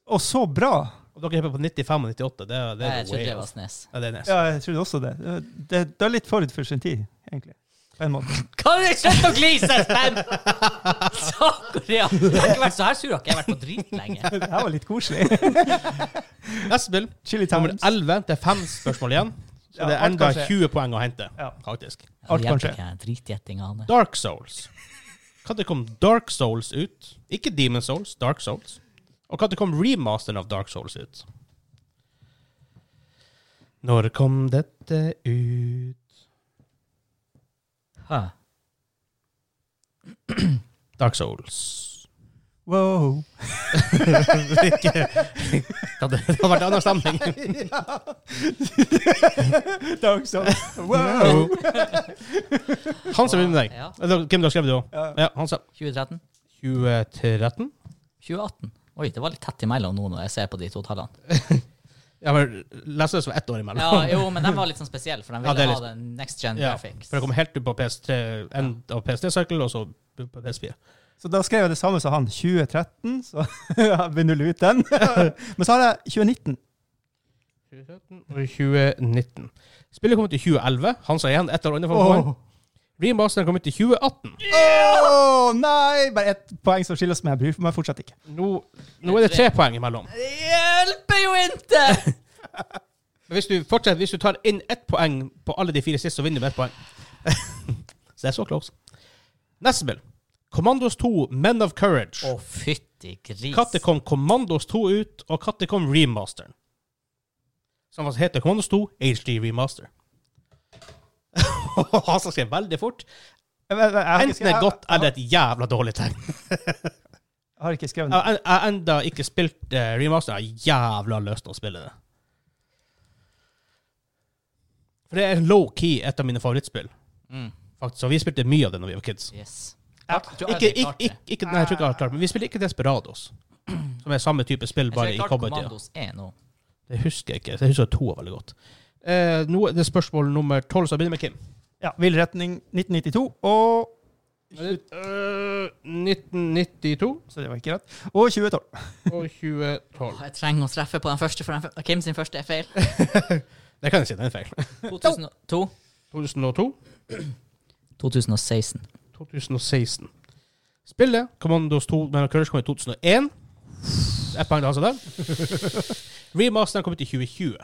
Og så bra! Og dere hepper på 95 og 98. Det, er- det, Jeg er way trodde det off. var Snes. Ja, det er Nes. Ja, jeg trodde også det. Det, det. det er litt forut for sin tid, egentlig. På en måte. Kan du slutte å glise, Sven? Sakria. Jeg har ikke vært så her sur, har ikke jeg vært på drit lenge. Det her var litt koselig. Neste spill, Chili nummer Times. 11. Det er fem spørsmål igjen. Så Ja, det er alt enda kan skje. 20 poeng å hente, Ja. faktisk. Alt kan skje. Dritgjettingene. Dark Souls. Når kom Dark Souls ut? Ikke Demon Souls, Dark Souls. Og når kom remasteren av Dark Souls ut? Når kom dette ut? Hæ. Dark Souls. Wow. Ikke- det hadde det hadde vært en annen stemning. Dark Souls. Wow! Han som begynner med deg. Ja. Eller Hvem du har skrevet det også? Ja. Ja, han sa 2013? 2013. 2018? Oi, det var litt tett imellom nå når jeg ser på de to tallene. Ja, men leser det som ett år imellom. Ja, jo, men den var litt sånn spesiell, for den Ja, det er ville ha litt- den next gen Ja, graphics. For det kom helt ut på PS3, end av PS3-sirkel, og så på PS4. Så da skrev jeg det samme som han. 2013, så jeg vil nulle ut den. Men så har jeg 2019. 2017 og 2019. Spillet kom ut i 2011. Han sa igjen ett år under for Åh. poeng. Remasteren kom ut i 2018. Åh, nei! Bare ett poeng som skiller oss, men jeg bryr meg fortsatt ikke. Nå, nå er det tre poeng imellom. Det hjelper jo ikke! Men hvis du fortsetter, hvis du tar inn ett poeng på alle de fire siste, så vinner du med ett poeng. så det er så close. Neste spill. Commandos 2, Men of Courage. Å, fytti gris. Når kom Commandos 2 ut, og når kom remasteren? Som altså heter Commandos 2 HD Remaster. Han som skrev veldig fort. Jeg, jeg, jeg, har ikke Enten skrevet- et godt jeg, eller et jævla dårlig tegn. jeg har ikke skrevet Jeg den. har en- jeg har enda ikke spilt eh, remaster. Jeg har jævla lyst til å spille det. For det er low-key et av mine favorittspill. Mm, Faktisk, og vi spilte mye av det når vi var kids. yes. Ikke, Jeg tror ikke, ikke, aldri jeg klarte det. ikke, nei, jeg tror ikke jeg har klart Men vi spilte ikke Desperados, som er samme type spill, Jeg tror bare jeg i klarte cowboytida. Commandos 1 nå. Det husker jeg ikke. Jeg husker to veldig godt. Eh, nå er det spørsmål nummer tolv, så jeg begynner med Kim. Ja, Vill retning 1992 og Eh, 1992 Så det var ikke rett. Og 2012. og 2012. Åh, Jeg trenger å treffe på den første, for den fe- Kim sin første er feil. Det kan jeg si, det er en feil. 2002? 2002. 2016. 2016. Spillet Commandos 2 mellom Courage kom i 2001. Ett poeng til han som der. Remasteren kom ut i 2020.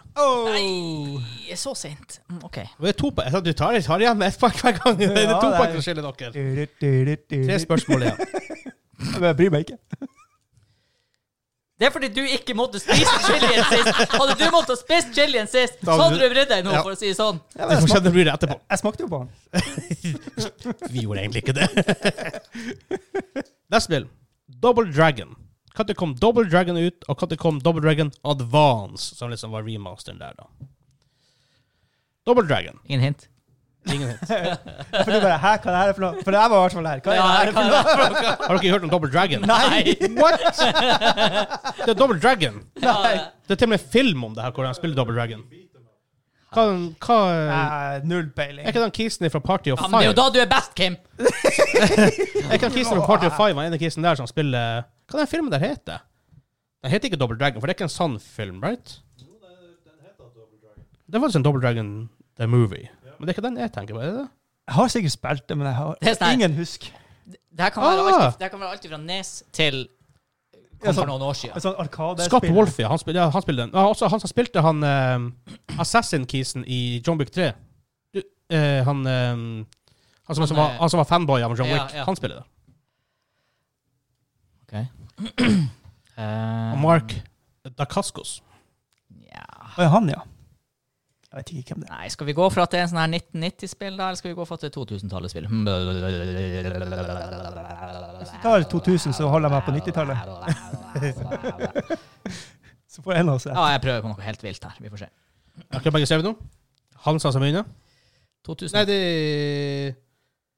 Nei, så sent. Mm, OK. Og det er to poeng. Jeg sa, Du tar, tar igjen med ett poeng hver gang. Det er Ja, to det er- poeng som skiller dere. Tre Tre spørsmål igjen. Men jeg bryr meg ikke. Det er fordi du ikke måtte spise chilien sist. Hadde du måttet spise chilien sist, så hadde du brydd deg nå, Ja. for å si det sånn. Du får Ja, men jeg, se om smakte, det blir det etterpå. jeg smakte jo på den. Vi gjorde egentlig ikke det. Neste spill. Double Dragon. Når kom Double Dragon ut, og når kom Double Dragon Advance, som liksom var remasteren der, da. Double Dragon. Ingen hint. Ingen hint. For du bare Hæ, hva er det her for noe? For det her var i hvert fall det her. Hva er det her? kan jeg være for noe? Har dere hørt om Double Dragon? Nei. What?! Det er Double Dragon. Ja, Det er til og med film om det her, hvordan han spiller Double Dragon. Hva, hva Nei, null Er peiling. ikke den kisen fra Party of Ja, men det er Five? jo da du er best, Kim. Er ikke den kisen fra Party of Five han ene kisen der som spiller Hva den filmen der heter? Den heter ikke Double Dragon, for det er ikke en sann film, right? Det var altså en Double Dragon The Movie. Men det er ikke den jeg tenker på, er det det? Jeg har sikkert spilt det, men jeg Det er har sånn her. ingen husk. Det her kan være, Ah. alt, det her kan være alt fra Nes til Ja, kom sånn- for noen år Et siden. sånt arkadespill. Scott Wolfie, han, spil, ja, han spiller den. Ja, også han som spilte han eh, Assassin-kisen i John Wick 3. Du, eh, han, eh, han, som, Han, som var, eh, han som var fanboy av John ja, Wick, ja. han spiller det. Eh, Og Mark Dacascos. Eh, Ja. Og han, ja. Jeg vet ikke hvem det er. Nei, skal vi gå for at det er en sånn her 1990-spill, da, eller skal vi gå for at det er Hmm. 2000-tallet-spill? Hvis vi tar 2000, så holder jeg meg på 90-tallet. Så får en av oss ja, jeg prøver på noe helt vilt her. Vi får se. Har ikke begge skrevet noe? Hansa som begynner? 2000, Nei, det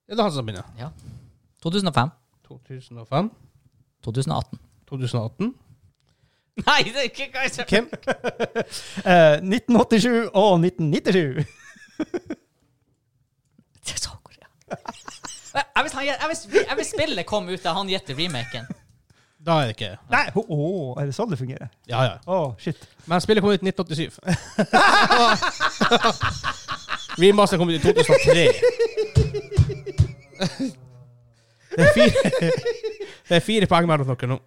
Ja, det er Hansa som begynner. 2005. 2005? 2018. 2018? Nei, det er ikke hva jeg sa! Hvem? Eh, 1987 og 1997. Det er Sør-Korea. Jeg visste han- jeg visste- jeg visste spillet kom ut da han gjetter remaken. Da er det ikke Nei, å, å, er det sånn det fungerer? Ja, ja. Å, shit. Men spillet kom ut i 1987. Remasteren kom ut i 2003. Det er fire, det er fire poeng mellom dere nå.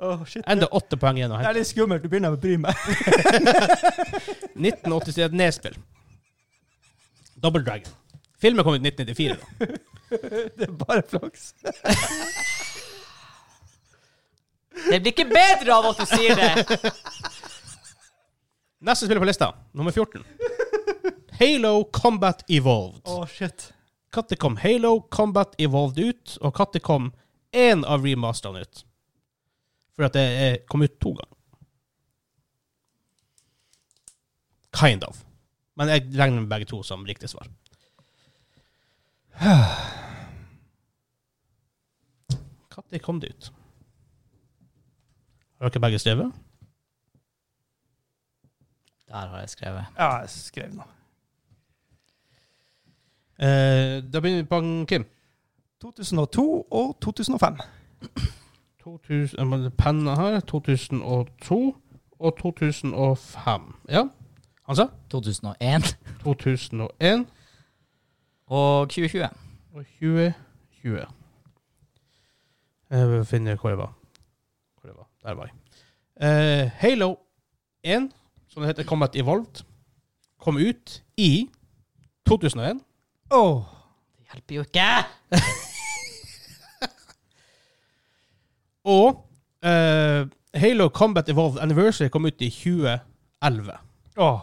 Å, shit. Enda åtte poeng igjen å Det hente. er litt skummelt. Du begynner jeg å bry meg. 1987 er et nedspill. Double Dragon. Filmen kom ut i 1994. da. Det er bare flaks. Det blir ikke bedre av at du sier det! Neste spiller på lista, nummer 14. Halo Combat Evolved. Å, shit. Når kom Halo Combat Evolved ut, og når kom én av remasterne ut? For at det er, kom ut to ganger. Kind of. Men jeg regner med begge to som riktig svar. Når kom det ut? Har dere begge skrevet? Der har jeg skrevet. Ja, jeg skrev noe. Eh, da begynner vi på han, Kim. 2002 og 2005. 2000, jeg må- penna eh, her. 2002 og 2005. Ja. altså Han sa 2001 2001 og 2020. og 2020. Jeg vil finne hvor jeg var. Hvor jeg var. Der var jeg. Eh, Halo 1, som det heter Combat Evolved, kom ut i 2001. Å, Det hjelper jo ikke! Og eh, Halo Combat Evolved Anniversary kom ut i 2011. Åh.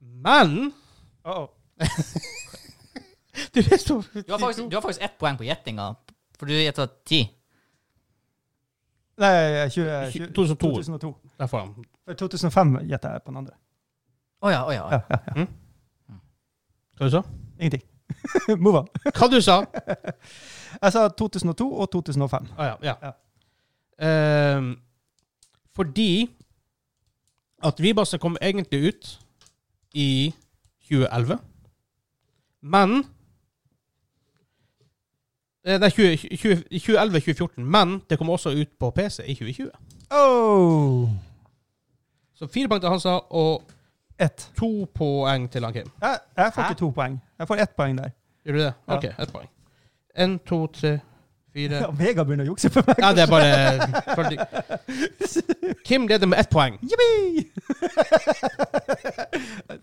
Men Åh. Du er så Du har faktisk, du har faktisk ett poeng på gjettinga, for du gjetta ti. Nei, 20, Eh, 20, 2002. 2002. Der får han. For 2005 gjetter jeg på den andre. Å ja, å ja. å ja. Ja, ja, ja. Hva du sa Ingenting. Move on. Hva du sa? Jeg sa 2002 og 2005. Ah, ja, ja. Ja. Ehm, fordi at Vibase kom egentlig ut i 2011, men Eh, Nei, 20 20 2011-2014, men det kom også ut på PC i 2020. Oh. Så fire poeng til Hansa og Ett. to poeng til han Kim. Jeg, jeg får Hæ? ikke to poeng. Jeg får ett poeng der. Gjør du det? Ja. OK, ett poeng. Én, to, tre, fire Vega begynner å jukse på meg. Ja, det er bare fordi- Kim leder med ett poeng. Jippi!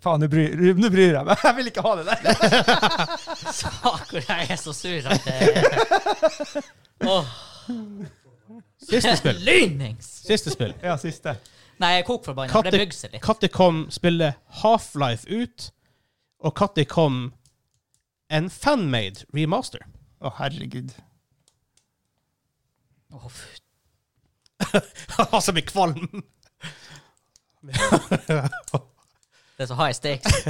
Faen, nå bryr, nå bryr jeg meg. Jeg vil ikke ha det der. Saker, jeg er så sur at det Åh, Siste spill. Lynings! Siste spill. Ja, siste. Nei, jeg er kokforbanna, for det Katte- bygger seg litt. Når kom spillet Half-Life ut, og når kom en fanmade remaster? Å, herregud. Åh, fy. Han som er Altså, kvalm! det er så high stakes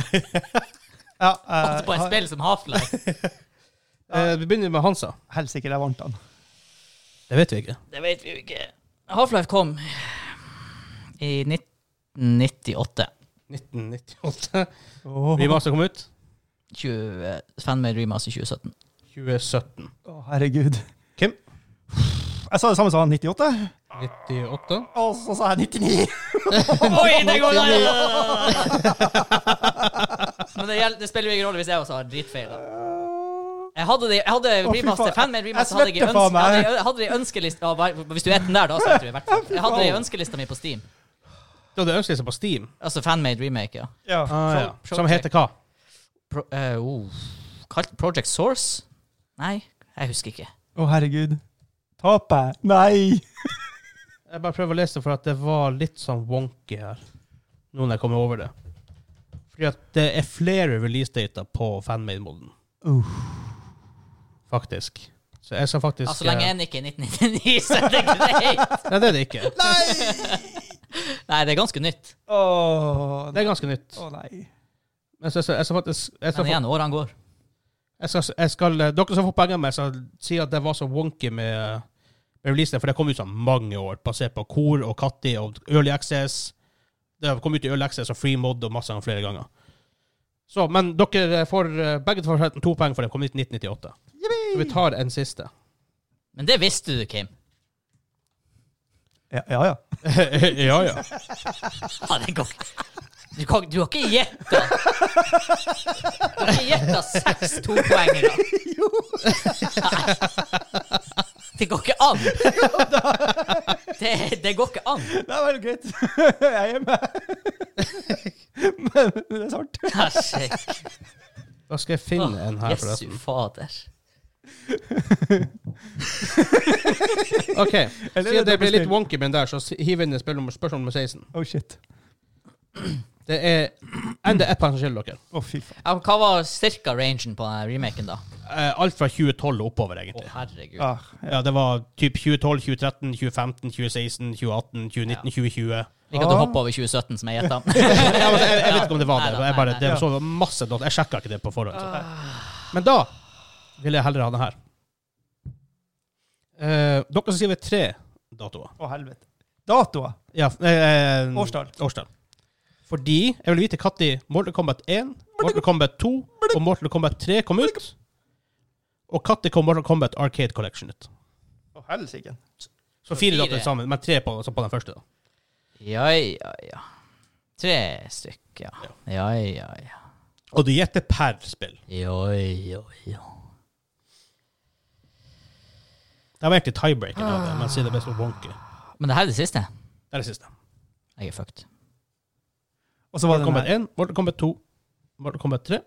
Ja, på et jeg, spill som Half-Life. Eh, vi begynner med Hansa. helsike, jeg vant den. Det vet vi ikke. Det vet vi jo ikke. Half-Life kom i 1998. 1998. Å, Remaster kom ut 20, fanmade remaster 2017. 2017. å, herregud. Kim? Jeg sa det samme som han, 98. 98. Og så sa jeg 99. Oi, det går Men det, gjelder, det spiller jo ingen rolle hvis jeg også har dritfeil. da. Jeg hadde, det, jeg hadde fy remaster, faen. fanmade remaster Jeg hadde jeg i svetter faen øns- meg. hadde jeg- hadde jeg i ønskelista ja, bare- Hvis du er den der, da, så vet du i hvert fall. Jeg hadde det i faen. ønskelista mi på Steam. Du hadde ønsket seg på Steam, Altså fanmade remake, ja. Ja. ah, ja. Pro- som heter hva? Pro, eh, oh. Kalt Project Source? Nei, jeg husker ikke. Å, herregud. Taper jeg? Nei! Jeg bare prøver å lese det for at det var litt sånn wonky her. nå når jeg kommer over det. Fordi at det er flere releasedater på fanmade-moden, Uh, faktisk. Så jeg skal faktisk Ja, Altså, så lenge eh, en ikke er 1999, så er det greit. Nei, det er det ikke. Nei, det er ganske nytt. Åh, Det er ganske nytt. Å nei. Men så, så, jeg skal faktisk jeg skal, Men få- igjen, årene går. jeg skal, jeg skal, eh, Dere som får penger med, skal si at det var så wonky med eh, releasen, for det kom ut sånn mange år, basert på kor og Katti og Early Access. Det kom ut i Early Access og Free Mod og masse ganger flere ganger. Så, men dere får eh, begge får forresten to poeng, for det kom ut i 1998. Så vi tar en siste. Men det visste du, Kim. Ja, ja. ja. ja, ja. Ja, det går ikke. Du, kan, du har ikke gjetta. Du har ikke gjetta seks topoengere. Jo. Nei. Det går ikke an. Det, det går ikke an. Det er vel greit. Jeg er med. Men det er sant. Herregud. Da skal jeg finne Ah, en her, Jesu forresten. fader. OK. Eller Siden det blir er det litt dobbeltspill? wonky med den der, så s- hiv inn spørsmål nummer, spørsmål nummer 16. Oh shit. Det er enda ett poeng som skiller dere. Å, fy faen. Ja, men Hva var cirka rangen på denne remaken, da? Eh, alt fra 2012 og oppover, Å, egentlig. herregud. Ah, Ja, Det var typ 2012, 2013, 2015, 2016, 2018, 2019, 2020. Ikke at du Ah. hopper over 2017, som jeg gjetta. Jeg, jeg, jeg vet ikke om det var Nei det. da, Jeg bare, nei, det nei. var så masse data. Jeg sjekka ikke det på forhånd. Så. Men da vil jeg heller ha den her. Eh, dere som skriver tre datoer å helvete. Datoer. ja, eh, Årstall. årstall. Fordi jeg vil vite når Mortal Kombat 1, Mortal Kombat 2 og Mortal Kombat 3 kom ut. Og når kom Mortal Kombat Arcade Collection ut. Å helsike. Så fire Fire. datoer sammen, men tre på, så på den første. da. Ja, ja, ja. Tre stykker, ja. Ja, ja, ja. Og du gjetter per spill. Ja, ja, ja. Det var egentlig tiebreaker, av det, men siden det ble så wonky. Men det her er det siste. Det er det siste. Jeg er fucked. Og så var Mortal Kombat det den her. 1, Mortal Kombat 2, Mortal Kombat 3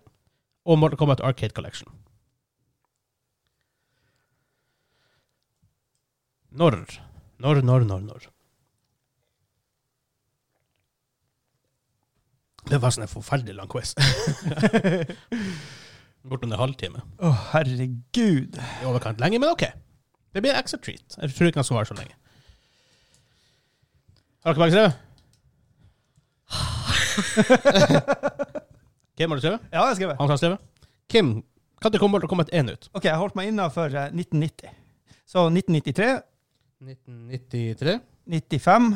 og Mortal Kombat Arcade Collection. Når? Når, når, når, når? Det var sånn en forferdelig lang quiz. Bortunder halvtime. Å, herregud. i overkant lenge, men OK. Det blir extra treat. Jeg tror ikke han skal være så lenge. Har dere begge skrevet? Kim, har du skrevet? Ja, jeg har skrevet. Han har skrevet. Kim, når kom Mortal Kombat 1 ut? OK, jeg holdt meg innafor 1990. Så 1993, 1993, 95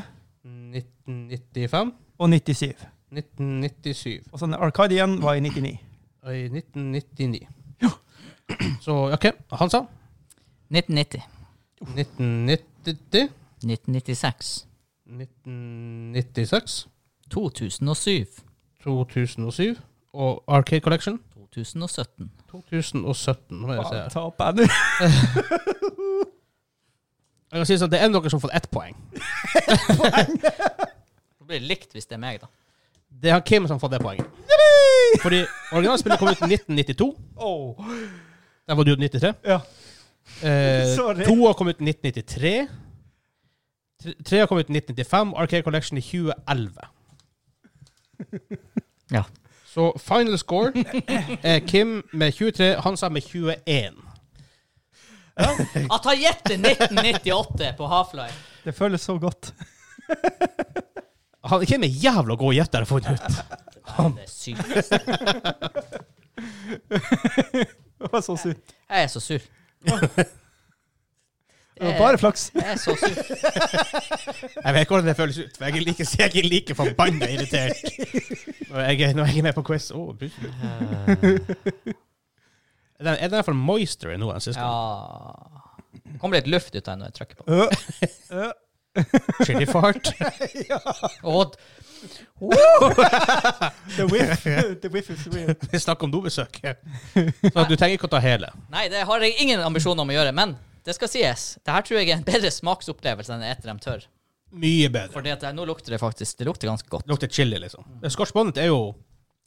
1995, og 97. 1997 Og så den Arcade igjen var i 99. og i 1999. Så OK, han sa 1990. 1990, 1996. 1996, 2007. 2007 og Arcade Collection. 2017. 2017. Hva er det jeg Faen, ser her? taper jeg nå? Jeg kan si sånn, Det er dere som har fått ett poeng. Det blir likt hvis det er meg, da. Det er han Kim som har fått det poenget. Fordi originalspillet kom ut i 1992. Åh, Der var du i 93. Ja. Eh, Sorry. to har kommet ut i 1993. Tre- Tre har kommet ut i 1995. Arcade Collection i 2011. Ja. Så final score er Kim med 23, Hansa med 21. At han gjetter 1998 på Half-Life! Det føles så godt. Han, Kim er jævla god gjetter, har jeg funnet ut. Det er sykt. Det var så sykt. Jeg er så sur. Det var bare flaks. Jeg er så sur. Jeg vet ikke hvordan det føles ut, for jeg er like, jeg er like forbanna irritert når jeg, er- når jeg er med på quiz. Å, bruk- Eh. er den, er den her for moisture nå enn sist? Ja Det kommer litt luft ut av den når jeg trykker på. Ø, ø. Chili fart? Og The whiff. The whiff is real. Vi snakker om dobesøk. Så du trenger ikke å ta hele. Nei, det har jeg ingen ambisjoner om å gjøre, men det skal sies. Det her tror jeg er en bedre smaksopplevelse enn etter dem tørr. Mye bedre. For nå lukter det faktisk Det lukter ganske godt. Lukter chili, liksom. Scotch bonnet er jo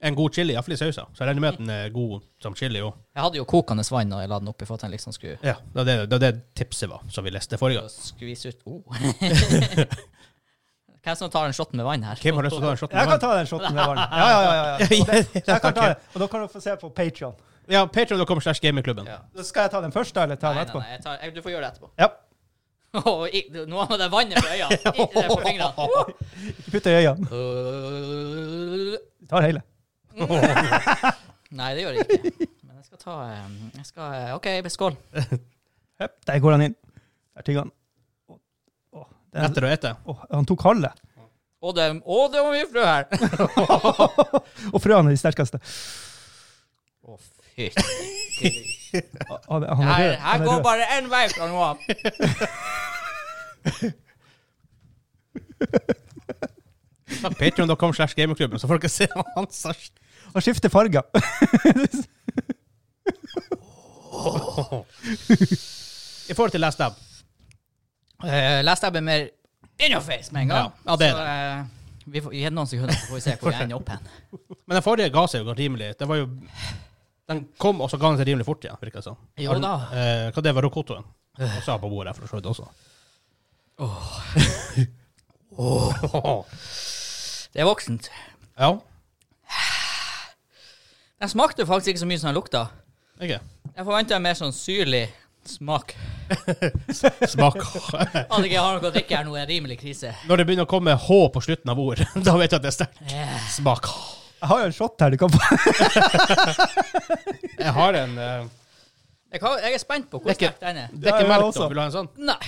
en god chili, iallfall i sausa. Så jeg regner med at den er god som chili òg. Jeg hadde jo kokende vann når jeg la den oppi for at den liksom skulle Ja, det var det, det, var det tipset var, som vi leste forrige gang. skvise ut oh. Hvem som tar den shotten med vann her? Hvem har lyst til å ta en shot Jeg med kan vann? ta den shoten med vann. Ja, ja, ja. ja, ja. Jeg kan ta Ok. det. Og da kan dere få se på Patreon. Ja, patreon.com slash gamingklubben. Ja. Skal jeg ta den først, da, eller ta Nei, den nei, etterpå? nei, jeg tar, jeg, du får gjøre det etterpå. Ja. Åh, i- Nå var det vannet på øya. I- det er På fingrene. Ikke putt det i øynene. Uh, Vi tar hele. Nei, det gjør jeg ikke. Men jeg skal ta um, jeg skal, eh, OK, skål. Jep, Der går han inn. Der tygger han. Å, å, den, Etter å ete. å, han tok halve. Og det, og det var mye frø her. Og frøene er de sterkeste. Å, fy. Han, han er rød. Her, Han her er går rød. bare én vei fra nå av. Patreon.com slash gamingklubben, så får dere se hva han sa. Han skifter farger. I forhold til Last Dab. Uh, Last Dab er mer in your face med en gang. Ja, ja, det er Så, eh, vi får, gi det noen sekunder, så får vi se hvor jeg ender opp hen. Men den forrige ga seg jo rimelig. Det var jo Den kom, og så ga den seg rimelig fort igjen, virker det som. Jo da. Eh, hva det var rokotoen? Og så har jeg på bordet her, for så vidt også. Det er voksent. Ja. Den smakte faktisk ikke så mye som den lukta. Ikke? Jeg forventa en mer sånn syrlig smak. Smak. At ikke jeg har noe å drikke her nå, er en rimelig krise. Når det begynner å komme H på slutten av ord, da vet du at det er sterkt. Eh, Smak. Jeg har jo en shot her. Du kan få. Jeg har en eh, Jeg, kan, jeg er spent på hvor Det er ikke- sterk den er. Det er Ja, jeg ikke melk, også. da. Vil du ha en sånn? Nei.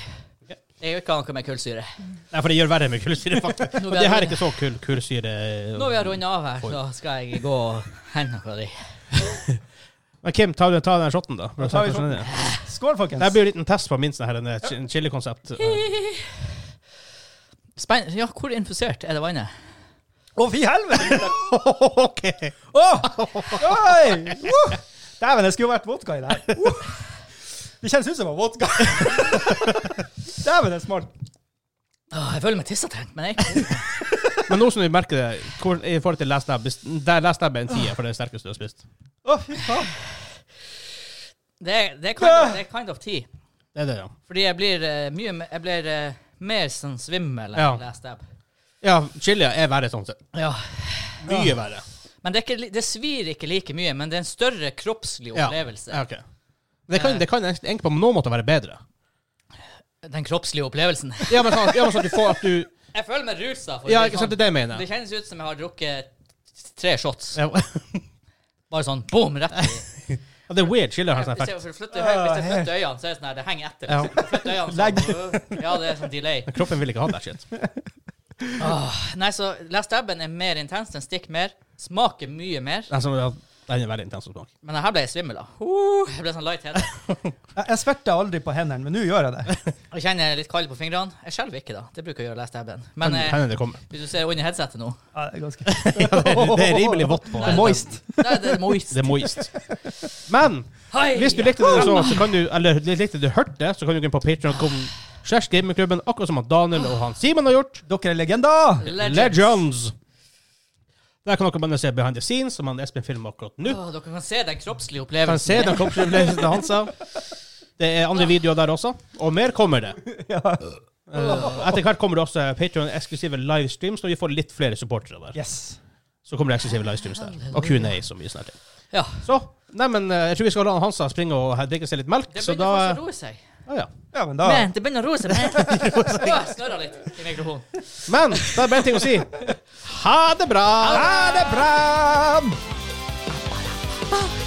Det er jo ikke noe med kullsyre. Nei, for det gjør verre med kullsyre, faktisk. Nå Men blir det her er det- ikke så kul kullsyre. eh, Når vi har rundet av her, så skal jeg gå og hente noe av de. Men Kim, ta, ta den shotten, da. tar vi shotten. Skål, folkens. Det blir jo en liten test på min sånn her, en chi- chili-konsept. Spenn... Ja, hvor infusert er det vannet? Å, fy helvete! OK! Oi! Uh! Dæven, det skulle jo vært vodka i det her. Uh! Det kjennes ut som det var vodka. Dæven, det er smart. Åh, jeg føler meg tissetrengt, men jeg er ikke Men nå som vi merker det, hvor, i forhold til Last Dab best- der Last Dab er en tier for det sterkeste du har spist. Å, fy faen. det, er- det, er kind of, det er kind of tea. Det er det, ja. Fordi jeg blir eh, mye me- Jeg blir eh, mer sånn svimmel enn Ja. last dab. Ja, chili er verre sånn sett. Ja. Mye verre. Men det, er ikke, li- det svir ikke like mye, men det er en større kroppslig Ja. opplevelse. Ja, ok. Det kan, det kan egentlig på noen måter være bedre. Den kroppslige opplevelsen. Ja, men sånn, at- ja, men sånn at du får at du Jeg føler meg rusa. For å Ja, si ikke sant, det er det jeg mener. det kjennes ut som jeg har drukket tre shots. Ja, Bare sånn boom, rett i. det er weird. Chili har sånn Hvis jeg effekt. Ah, hvis jeg flytter, hvis jeg flytter øynene, så er det sånn her, det henger etter. Hvis jeg flytter øynene, så, ja, det er sånn delay. Men kroppen vil ikke ha that shit. Åh, Ah. nei, så Last Dabben er mer intens, den stikker mer, smaker mye mer. Den, som, Altså, ja, den er veldig intens å smake. Men her ble jeg svimmel av. Uh, jeg ble sånn light head. Jeg, jeg sverter aldri på hendene, men nå gjør jeg det. Jeg kjenner jeg litt kald på fingrene. Jeg skjelver ikke, da. Det bruker jeg å gjøre Last Dabben. Men Hender- eh, hender det kommer. hvis du ser under headsetet nå Ja, det er ganske Det er- det er rimelig vått på. Det er moist. Der er det moist. Det er moist. Men Hei! hvis du likte det du så, så kan du Eller likte det du hørte, så kan du gå inn på Patreon.com slash gamingklubben, akkurat som han Daniel og han Simen har gjort. Dere er legender! Legends. Legends. Der kan dere bare se behind the scenes, som han Espen filmer akkurat nå. Åh, dere kan se den kroppslige Kan se opplevelsen. den kroppsrevelsen hans. av. Det er andre videoer der også, og mer kommer det. Eh, etter hvert kommer det også Patreon-eksklusive livestreams, når vi får litt flere supportere der. Yes. Så kommer det eksklusive livestreams der, og Q&A som vi snart er. Ja. Så, neimen, eh, jeg tror vi skal la Hansa springe og drikke seg litt melk, Det så begynner da eh, faktisk å roe seg. ja, ja. Ja, men da Men det begynner å roe seg. Men. Åh, Jeg snørra litt i mikrofonen. Men det er bare en ting å si. Ha det bra! Ha det bra! Bye.